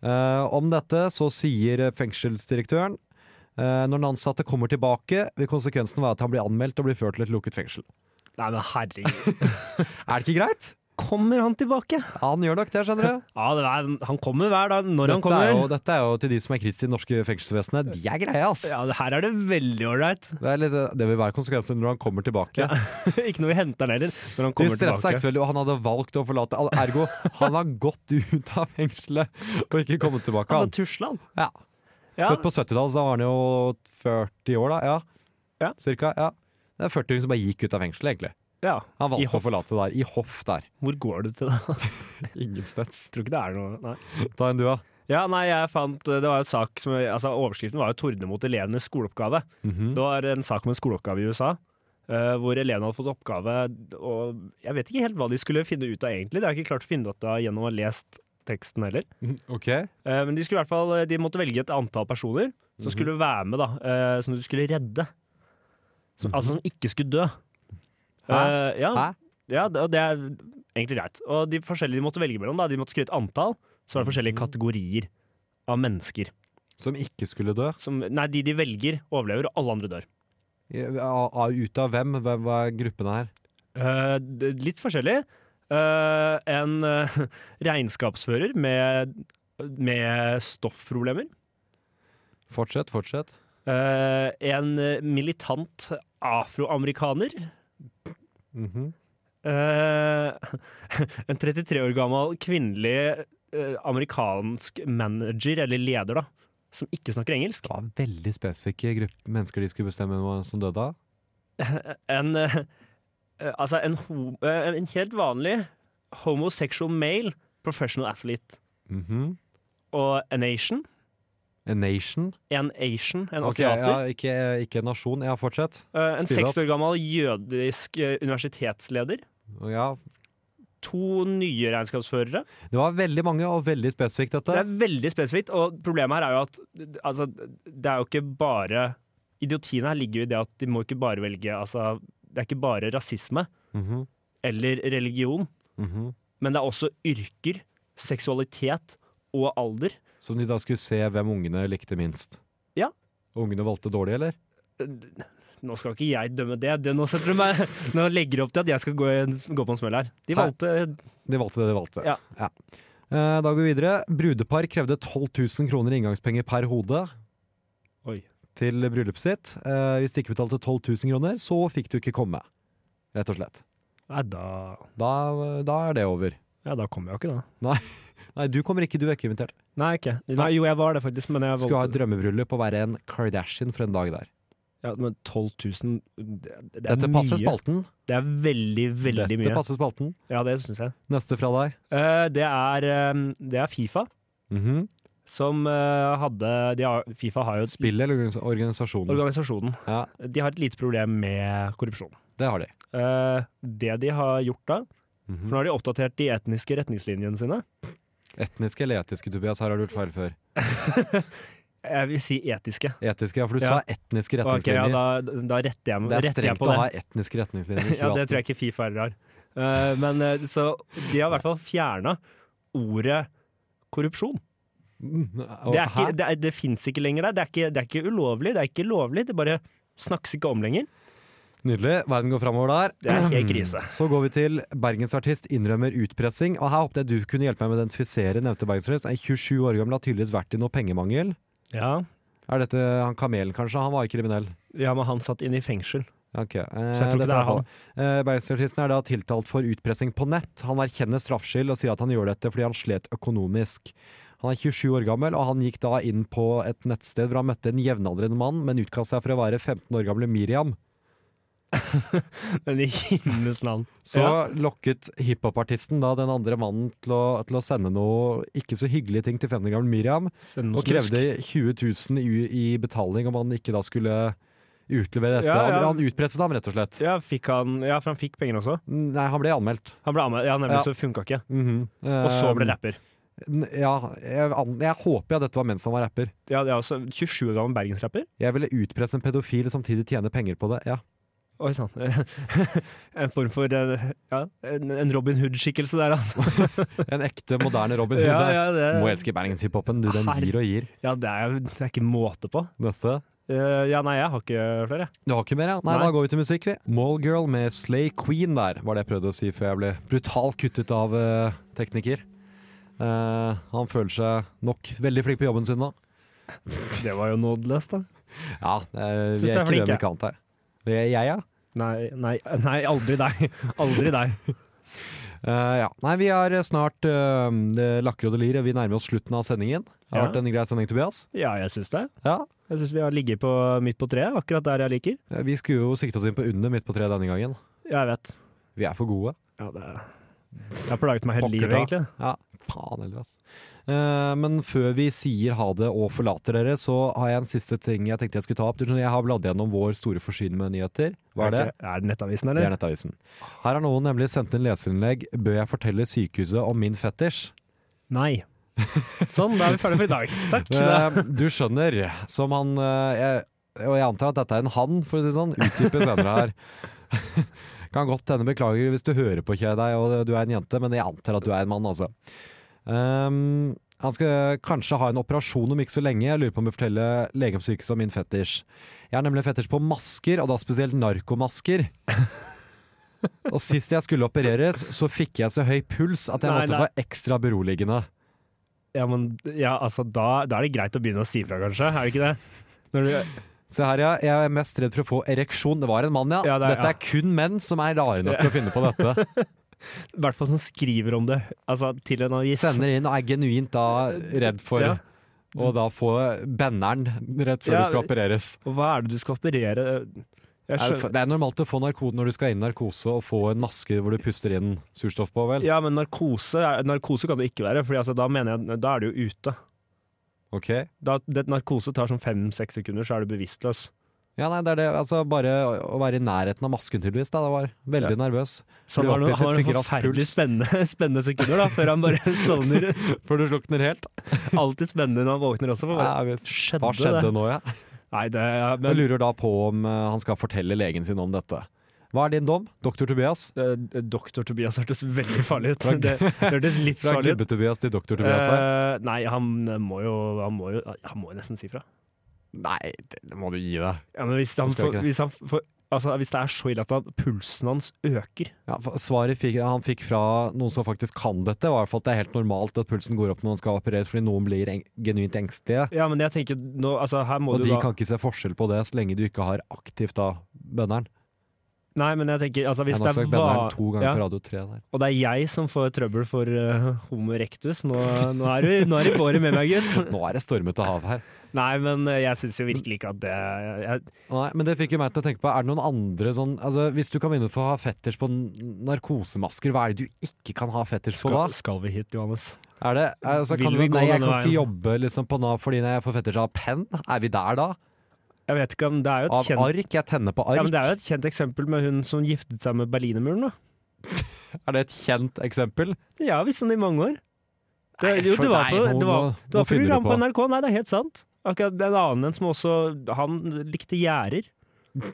Speaker 5: Eh, om dette så sier fengselsdirektøren eh, når den ansatte kommer tilbake, vil konsekvensen være at han blir anmeldt og blir ført til et lukket fengsel.
Speaker 6: Nei, men herregud.
Speaker 5: Er det ikke greit?
Speaker 6: Kommer han tilbake?
Speaker 5: Ja, han gjør nok det, skjønner du.
Speaker 6: Ja, det er, Han kommer hver dag når han
Speaker 5: Dette
Speaker 6: kommer.
Speaker 5: er, jo, dette er jo til de som er kritiske i det norske fengselsvesenet. De er greie, ass!
Speaker 6: Ja, det- Her er det veldig ålreit.
Speaker 5: Det, er litt, det vil være konsekvenser når han kommer tilbake.
Speaker 6: Ja, ikke noe vi henter han heller. Når han
Speaker 5: de
Speaker 6: kommer
Speaker 5: stressa ikke
Speaker 6: tilbake.
Speaker 5: så veldig, og han hadde valgt å forlate. al- Ergo, han har gått ut av fengselet og ikke kommet tilbake.
Speaker 6: Han
Speaker 5: Han.
Speaker 6: var tusla, han.
Speaker 5: Ja.
Speaker 6: Ja,
Speaker 5: Født på 70-tallet, så da var han jo 40 år, da. Ja.
Speaker 6: Ja.
Speaker 5: Cirka. Ja. Det er 40 som bare gikk ut av fengselet, egentlig.
Speaker 6: ja.
Speaker 5: Han
Speaker 6: I
Speaker 5: valgte å
Speaker 6: hoff.
Speaker 5: forlate der. I hoff der.
Speaker 6: Hvor går du til da?
Speaker 5: Ingensteds.
Speaker 6: Tror ikke det er noe Nei.
Speaker 5: Ta en du, da.
Speaker 6: Ja, nei, jeg fant eh, Det var en sak som altså, Overskriften var jo 'Tordne mot elevenes skoleoppgave'.
Speaker 5: Mhm.
Speaker 6: Det var en sak om en skoleoppgave i USA. eh, hvor elevene hadde fått oppgave, og jeg vet ikke helt hva de skulle finne ut av egentlig. Det har jeg ikke klart å finne ut av gjennom å ha lest teksten heller.
Speaker 5: OK.
Speaker 6: Eh, Men de, skulle i hvert fall, de måtte velge et antall personer som
Speaker 5: Mhm.
Speaker 6: skulle være med, da, eh, som du skulle redde. Som, Altså som ikke skulle dø.
Speaker 5: Hæ?
Speaker 6: Eh, ja,
Speaker 5: Hæ?
Speaker 6: ja, det, og det er egentlig greit. Og de forskjellige de måtte velge mellom, da, de måtte skrive et antall.
Speaker 5: Mhm.
Speaker 6: Så var det forskjellige kategorier av mennesker.
Speaker 5: Som ikke skulle dø?
Speaker 6: Som, nei, de de velger, overlever, og alle andre dør.
Speaker 5: I- av- av- Ut av hvem? Hva hva er gruppen her?
Speaker 6: Eh, det- litt forskjellig. Eh, en eh, regnskapsfører med, med stoffproblemer.
Speaker 5: Fortsett, fortsett.
Speaker 6: Eh, en eh, militant afroamerikaner.
Speaker 5: Mhm.
Speaker 6: Eh, en 33 år gammel kvinnelig eh, amerikansk manager, eller leder, da, som ikke snakker engelsk.
Speaker 5: Det var veldig spesifikke grupp- mennesker de skulle bestemme hva som døde av.
Speaker 6: En, eh, eh, altså en, ho eh, en helt vanlig homosexual male professional athlete.
Speaker 5: Mhm.
Speaker 6: Og en Asian.
Speaker 5: A nation.
Speaker 6: En Asian, en
Speaker 5: Ok,
Speaker 6: asiater.
Speaker 5: ja, ikke, ikke en nasjon. Ja, fortsett.
Speaker 6: Eh, en
Speaker 5: speed up.
Speaker 6: 60 år gammel jødisk eh, universitetsleder.
Speaker 5: Ja.
Speaker 6: To nye regnskapsførere.
Speaker 5: Det var veldig mange og veldig spesifikt,
Speaker 6: Det
Speaker 5: dette.
Speaker 6: er veldig spesifikt, og problemet her er jo at altså, det er jo ikke bare Idiotien her ligger jo i det at de må ikke bare velge altså, Det er ikke bare rasisme
Speaker 5: Mhm,
Speaker 6: eller religion,
Speaker 5: mhm.
Speaker 6: men det er også yrker, seksualitet og alder.
Speaker 5: Som de da skulle se hvem ungene likte minst.
Speaker 6: Ja.
Speaker 5: Og Ungene valgte dårlig, eller?
Speaker 6: Nå skal ikke jeg dømme det. det nå, setter du meg, nå legger du opp til at jeg skal gå, i en- gå på en smell her. De
Speaker 5: Nei.
Speaker 6: valgte
Speaker 5: De valgte det de valgte.
Speaker 6: Ja.
Speaker 5: Eh, Da går vi videre. Brudepar krevde 12 000 kroner i inngangspenger per hode.
Speaker 6: Oi.
Speaker 5: Til bryllupet sitt. Eh, Hvis de ikke betalte 12 000 kroner, så fikk du ikke komme. Rett og slett.
Speaker 6: Nei, da,
Speaker 5: Da, da er det over.
Speaker 6: ja, da kommer jeg jo ikke, da.
Speaker 5: Nei, du kommer ikke, du er ikke invitert.
Speaker 6: Nei, ikke. Nei, jo, jeg var det faktisk, men jeg
Speaker 5: Skal ha et
Speaker 6: valgte
Speaker 5: drømmebryllup og være en Kardashian for en dag der.
Speaker 6: ja, men 12 000 det, det er
Speaker 5: Dette
Speaker 6: mye.
Speaker 5: passer spalten.
Speaker 6: Det er veldig, veldig
Speaker 5: Dette
Speaker 6: mye.
Speaker 5: passer spalten.
Speaker 6: Ja, det syns jeg.
Speaker 5: Neste fra deg.
Speaker 6: Eh, det, er, eh, det er Fifa
Speaker 5: Mhm.
Speaker 6: som eh, hadde de har, Fifa har jo et-
Speaker 5: Spillet eller organisa- organisasjonen?
Speaker 6: organisasjonen.
Speaker 5: Ja,
Speaker 6: De har et lite problem med korrupsjon.
Speaker 5: det har de.
Speaker 6: Eh, det de har gjort da For
Speaker 5: Mhm.
Speaker 6: nå har de oppdatert de etniske retningslinjene sine.
Speaker 5: Etniske eller etiske, Tobias? Her har du gjort feil før.
Speaker 6: Jeg vil si etiske.
Speaker 5: Etiske, ja, for du sa
Speaker 6: Ja.
Speaker 5: etniske
Speaker 6: Ok, ja,
Speaker 5: retningslinjer.
Speaker 6: da, da retter jeg,
Speaker 5: det er
Speaker 6: retter jeg
Speaker 5: strengt
Speaker 6: på
Speaker 5: å
Speaker 6: det.
Speaker 5: ha etniske retningslinjer i
Speaker 6: Ja,
Speaker 5: 2018.
Speaker 6: det tror jeg ikke Fifa heller har. Eh, men eh, så de har i hvert fall fjerna ordet korrupsjon.
Speaker 5: Mm, og-
Speaker 6: Det, er ikke,
Speaker 5: hæ?
Speaker 6: det, er, det fins ikke lenger der. Det er ikke, det er ikke ulovlig, det er ikke lovlig. Det bare snakkes ikke om lenger.
Speaker 5: Nydelig. Verden går framover der.
Speaker 6: Det er helt krise.
Speaker 5: Så går vi til bergensartist innrømmer utpressing. Og her håpet jeg du kunne hjelpe meg med å identifisere nevnte bergensartist. En 27 år gammel har tydeligvis vært i noe pengemangel.
Speaker 6: Ja,
Speaker 5: Er dette han kamelen, kanskje? Han var jo kriminell.
Speaker 6: ja men han satt inne i fengsel.
Speaker 5: Ok, eh,
Speaker 6: jeg tror ikke
Speaker 5: dette
Speaker 6: det er
Speaker 5: er han. Eh, Bergensartisten er da tiltalt for utpressing på nett. Han erkjenner straffskyld og sier at han gjør dette fordi han slet økonomisk. Han er 27 år gammel, og han gikk da inn på et nettsted hvor han møtte en jevnaldrende mann, men utga seg for å være 15 år gamle Miriam.
Speaker 6: Men i himmelens navn.
Speaker 5: Så
Speaker 6: Ja.
Speaker 5: lokket hiphopartisten da den andre mannen til å, til å sende noe ikke så hyggelige ting til 15 år gamle Miriam,
Speaker 6: Send noe
Speaker 5: og
Speaker 6: snusk.
Speaker 5: krevde 20 000 i, i betaling om han ikke da skulle utlevere dette.
Speaker 6: Ja, ja.
Speaker 5: Han, han utpresset ham, rett og slett.
Speaker 6: Ja, fikk han, ja, for han fikk penger også.
Speaker 5: Nei, han ble anmeldt.
Speaker 6: Han ble anmeldt, ja, nemlig,
Speaker 5: Ja.
Speaker 6: så funka ikke.
Speaker 5: Mhm.
Speaker 6: Og så
Speaker 5: Eh,
Speaker 6: ble rapper.
Speaker 5: N- Ja, jeg, an- jeg håper ja dette var mens han var rapper.
Speaker 6: Ja, det er også 27 år gammel bergensrapper.
Speaker 5: Jeg ville utpresse en pedofil og samtidig tjene penger på det. Ja.
Speaker 6: Oi sann. En form for eh, ja, en en Robin Hood-skikkelse der, altså.
Speaker 5: En ekte, moderne Robin Hood.
Speaker 6: Ja,
Speaker 5: der.
Speaker 6: ja, det,
Speaker 5: Må elske bergenshiphopen. Du, den gir og gir.
Speaker 6: ja det, er, det er ikke måte på.
Speaker 5: Neste.
Speaker 6: Eh, ja, nei, jeg har ikke flere. jeg.
Speaker 5: Du har ikke mer, ja? Nei,
Speaker 6: Nei.
Speaker 5: da går vi til musikk, vi. Mallgirl med Slay Queen der, var det jeg prøvde å si før jeg ble brutalt kuttet av eh, tekniker. Eh, han føler seg nok veldig flink på jobben sin nå.
Speaker 6: Det var jo nådeløst, da.
Speaker 5: Ja, eh,
Speaker 6: Syns
Speaker 5: vi er ikke
Speaker 6: du er flink,
Speaker 5: uenige om ikke annet her. Det er jeg, ja.
Speaker 6: Nei, nei, nei aldri deg. Aldri deg.
Speaker 5: Eh, ja. Nei, vi er snart uh, lakker og delir. Vi nærmer oss slutten av sendingen. Det har
Speaker 6: Ja.
Speaker 5: vært en grei sending, Tobias.
Speaker 6: Ja, jeg syns det.
Speaker 5: Ja,
Speaker 6: Jeg syns vi har ligget på midt på treet, akkurat der jeg liker.
Speaker 5: Ja, Eh, Vi skulle jo sikte oss inn på under midt på treet denne gangen.
Speaker 6: Jeg vet.
Speaker 5: Vi er for gode.
Speaker 6: Ja, det er Jeg har plaget meg
Speaker 5: Pokker
Speaker 6: hele livet,
Speaker 5: ta.
Speaker 6: egentlig.
Speaker 5: Ja, faen heller, altså. Eh, men før vi sier ha det og forlater dere, så har jeg en siste ting jeg tenkte jeg skulle ta opp. Du skjønner, Jeg har bladd gjennom vår store forsyn med nyheter. Hva er det?
Speaker 6: ikke- Er det Nettavisen,
Speaker 5: Det er
Speaker 6: eller?
Speaker 5: Nettavisen. Her har noen nemlig sendt inn leserinnlegg 'Bør jeg fortelle sykehuset om min fetisj?'
Speaker 6: Nei. Sånn, da er vi ferdige for i dag. Takk.
Speaker 5: Eh, du skjønner, som han eh, jeg, Og jeg antar at dette er en han, for å si det sånn. Utdype senere her. Kan godt hende, beklager hvis du hører på, kjære deg, og du er en jente, men jeg antar at du er en mann, altså. Ehm, han skal kanskje ha en operasjon om ikke så lenge. Jeg lurer på om jeg forteller legen på sykehuset om min fetisj. Jeg har nemlig en fetisj på masker, og da spesielt narkomasker. og sist jeg skulle opereres, så fikk jeg så høy puls at jeg
Speaker 6: Nei,
Speaker 5: måtte
Speaker 6: nei.
Speaker 5: få ekstra beroligende.
Speaker 6: Ja, men ja, altså, da, da er det greit å begynne å si fra, kanskje? Er det ikke det? Når du,
Speaker 5: Se her, ja. Jeg er mest redd for å få ereksjon. Det var en mann, ja.
Speaker 6: Ja, det er-
Speaker 5: Dette er kun menn som er rare nok til å finne på dette.
Speaker 6: I hvert fall som skriver om det altså, til en avis.
Speaker 5: Sender inn og er genuint da redd for
Speaker 6: Ja.
Speaker 5: å da få benneren rett før
Speaker 6: Ja.
Speaker 5: du skal opereres.
Speaker 6: Og hva er det du skal operere? Jeg
Speaker 5: Er det
Speaker 6: skjønner.
Speaker 5: for- Det er normalt å få narkose når du skal inn i narkose og få en maske hvor du puster inn surstoff på, vel?
Speaker 6: Ja, men narkose, er- narkose kan det ikke være, for altså, da mener jeg da er du jo ute.
Speaker 5: Ok.
Speaker 6: Da, det, narkose tar sånn fem-seks sekunder, så er du bevisstløs.
Speaker 5: Ja, nei, det er det. Altså, bare å- å være i nærheten av masken, tydeligvis. Da. Det var veldig nervøs.
Speaker 6: Så
Speaker 5: Blir
Speaker 6: han har noen,
Speaker 5: opphisset,
Speaker 6: han har
Speaker 5: fikk
Speaker 6: noen
Speaker 5: rask
Speaker 6: forferdelig
Speaker 5: puls.
Speaker 6: spennende, spennende sekunder da, før han bare sovner.
Speaker 5: For du slukner helt.
Speaker 6: Alltid spennende når han våkner også. For
Speaker 5: Ja,
Speaker 6: bare,
Speaker 5: jeg vet.
Speaker 6: skjedde,
Speaker 5: Hva skjedde
Speaker 6: det?
Speaker 5: nå, ja?
Speaker 6: Nei, det, ja,
Speaker 5: Jeg
Speaker 6: men,
Speaker 5: lurer da på om eh, han skal fortelle legen sin om dette. Hva er din dom, doktor Tobias?
Speaker 6: eh, Doktor Tobias hørtes veldig farlig ut. Det, det hørtes
Speaker 5: Fra
Speaker 6: livsfarlig ut.
Speaker 5: Gubbe-Tobias til Doktor-Tobias her.
Speaker 6: Eh, nei, han eh, må jo Han må jo, han må jo nesten si fra.
Speaker 5: Nei, det må du gi deg.
Speaker 6: Ja, men hvis, han
Speaker 5: Skal
Speaker 6: får,
Speaker 5: ikke det.
Speaker 6: hvis, han får, altså, hvis det er så ille at han, pulsen hans øker
Speaker 5: Ja, for svaret fikk, han fikk fra noen som faktisk kan dette, var i hvert fall at det er helt normalt at pulsen går opp når man skal opereres, fordi noen blir eng genuint engstelige.
Speaker 6: Ja, men jeg tenker nå, altså, her må
Speaker 5: Og
Speaker 6: du
Speaker 5: de
Speaker 6: da
Speaker 5: kan ikke se forskjell på det så lenge du ikke har aktivt da bønneren.
Speaker 6: Nei, men jeg tenker altså, hvis
Speaker 5: Jeg har
Speaker 6: det er
Speaker 5: sagt benderen
Speaker 6: va-
Speaker 5: to ganger
Speaker 6: ja,
Speaker 5: på radio tre der.
Speaker 6: Og det er jeg som får trøbbel for eh, homo erectus. Nå, nå er du nå er du i båret med meg, gutt.
Speaker 5: Nå er det stormete hav her.
Speaker 6: Nei, men eh, jeg syns jo virkelig ikke at det jeg,
Speaker 5: Nei, men det fikk jo meg til å tenke på Er det noen andre sånn altså, Hvis du kan vinne for å ha fetters på n- narkosemasker, hva er det du ikke kan ha fetters på da?
Speaker 6: skal, skal vi hit, Johannes?
Speaker 5: Er det, altså, kan
Speaker 6: Vil
Speaker 5: du,
Speaker 6: vi gå
Speaker 5: nei, jeg
Speaker 6: denne
Speaker 5: kan ikke
Speaker 6: veien?
Speaker 5: jobbe liksom, på Nav fordi jeg får fetters av penn. Er vi der da?
Speaker 6: Jeg vet ikke, men det er jo
Speaker 5: Av
Speaker 6: et kjent,
Speaker 5: ark? Jeg tenner på ark.
Speaker 6: ja, men det er jo et kjent eksempel med hun som giftet seg med Berlinermuren. da.
Speaker 5: Er det et kjent eksempel?
Speaker 6: Jeg har visst om det i mange år. Det,
Speaker 5: Nei,
Speaker 6: jo,
Speaker 5: for
Speaker 6: det var
Speaker 5: deg,
Speaker 6: på,
Speaker 5: nå-
Speaker 6: det var,
Speaker 5: nå-
Speaker 6: det var
Speaker 5: nå finner du
Speaker 6: program på
Speaker 5: på.
Speaker 6: NRK, nei, det er helt sant. Akkurat det er en annen en som også Han likte gjerder.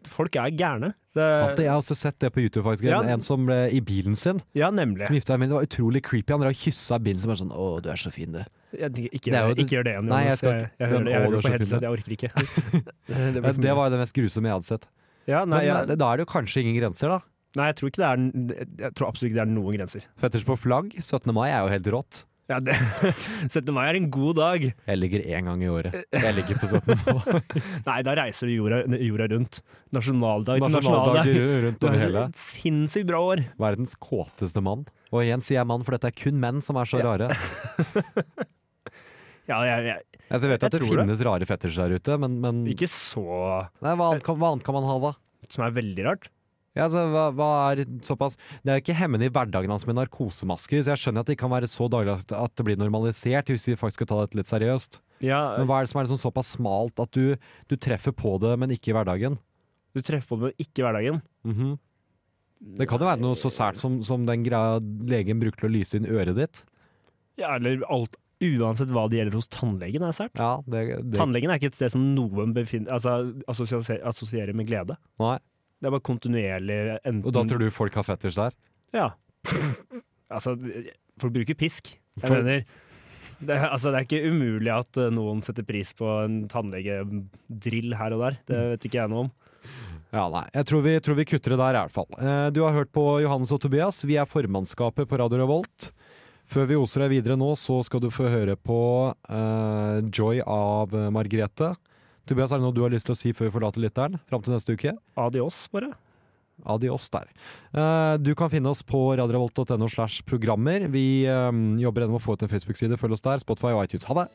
Speaker 6: Folk er gærne. Det-
Speaker 5: Sant det, Jeg har også sett det på YouTube, faktisk.
Speaker 6: Eh, Ja.
Speaker 5: En, en som ble i bilen sin.
Speaker 6: Ja, nemlig.
Speaker 5: Som gifta seg med Det var utrolig creepy. Han drev og kyssa bilen som er sånn Å, du er så fin, du.
Speaker 6: Jeg, tenker, ikke,
Speaker 5: Det er jo
Speaker 6: gjør-
Speaker 5: det-
Speaker 6: ikke gjør det igjen,
Speaker 5: Nei, jeg
Speaker 6: Johannes.
Speaker 5: skal
Speaker 6: Jeg, jeg,
Speaker 5: ikke- den
Speaker 6: hører, jeg hører på
Speaker 5: overshoppingen.
Speaker 6: headset, jeg orker ikke. det
Speaker 5: Ja,
Speaker 6: blir for
Speaker 5: Det
Speaker 6: mye.
Speaker 5: var jo det mest grusomme jeg hadde sett.
Speaker 6: ja, nei,
Speaker 5: Men eh,
Speaker 6: jeg,
Speaker 5: da er det jo kanskje ingen grenser, da.
Speaker 6: nei, jeg tror ikke det er Jeg tror absolutt ikke det er noen grenser.
Speaker 5: Fetters på flagg 17. mai er jo helt rått.
Speaker 6: Ja, det, 17. mai er en god dag.
Speaker 5: Jeg ligger én gang i året. Jeg ligger på 17. mai.
Speaker 6: Nei, da reiser du jorda, jorda rundt. Nasjonaldag til
Speaker 5: Nasjonaldag
Speaker 6: nasjonaldag.
Speaker 5: rundt
Speaker 6: Det
Speaker 5: over
Speaker 6: er
Speaker 5: hele.
Speaker 6: et sinnssykt bra år.
Speaker 5: Verdens kåteste mann. Og igjen sier jeg mann, for dette er kun menn som er så
Speaker 6: Ja.
Speaker 5: rare.
Speaker 6: Ja, jeg, jeg,
Speaker 5: Altså, jeg vet at
Speaker 6: Jeg
Speaker 5: det
Speaker 6: tror det.
Speaker 5: finnes rare fetters der ute, men, men
Speaker 6: ikke så
Speaker 5: nei, hva, annet kan, hva annet kan man ha, da?
Speaker 6: Som er veldig rart.
Speaker 5: Ja, altså, hva, hva er såpass Det er jo ikke hemmende i hverdagen hans med narkosemasker, så jeg skjønner at det ikke kan være så daglig at- at det blir normalisert, hvis vi faktisk skal ta dette litt seriøst.
Speaker 6: Ja,
Speaker 5: Men hva er det som er liksom såpass smalt at du, du treffer på det, men ikke i hverdagen?
Speaker 6: du treffer på det, men ikke i hverdagen.
Speaker 5: Mhm. Det kan jo være noe så sært som, som den greia legen bruker til å lyse inn øret ditt.
Speaker 6: Ja, eller alt Uansett hva det gjelder hos tannlegen, er sært.
Speaker 5: Ja, det, det
Speaker 6: Tannlegen er ikke et sted som noen befinner, altså, assosierer, assosierer med glede.
Speaker 5: Nei.
Speaker 6: Det er bare kontinuerlig enten
Speaker 5: Og da tror du folk har fetters der?
Speaker 6: Ja. altså, folk bruker pisk. Jeg
Speaker 5: For-
Speaker 6: mener det, er- altså, det er ikke umulig at eh, noen setter pris på en tannlegedrill her og der.
Speaker 5: Mm.
Speaker 6: Det vet ikke jeg noe om.
Speaker 5: Ja, nei. Jeg tror vi, tror vi kutter det der, i hvert fall. Eh, du har hørt på Johannes og Tobias. Vi er formannskapet på Radio Revolt. Før vi oser deg videre nå, så skal du få høre på eh, Joy av eh, Margrethe. Tobias, er det noe du har lyst til å si før vi forlater lytteren? Fram til neste uke?
Speaker 6: Adios, bare.
Speaker 5: Adios der. Eh, du kan finne oss på radiorevolt.no slash programmer. Vi eh, jobber ennå med å få ut en Facebook-side. Følg oss der. Spotify og iTunes. Ha det!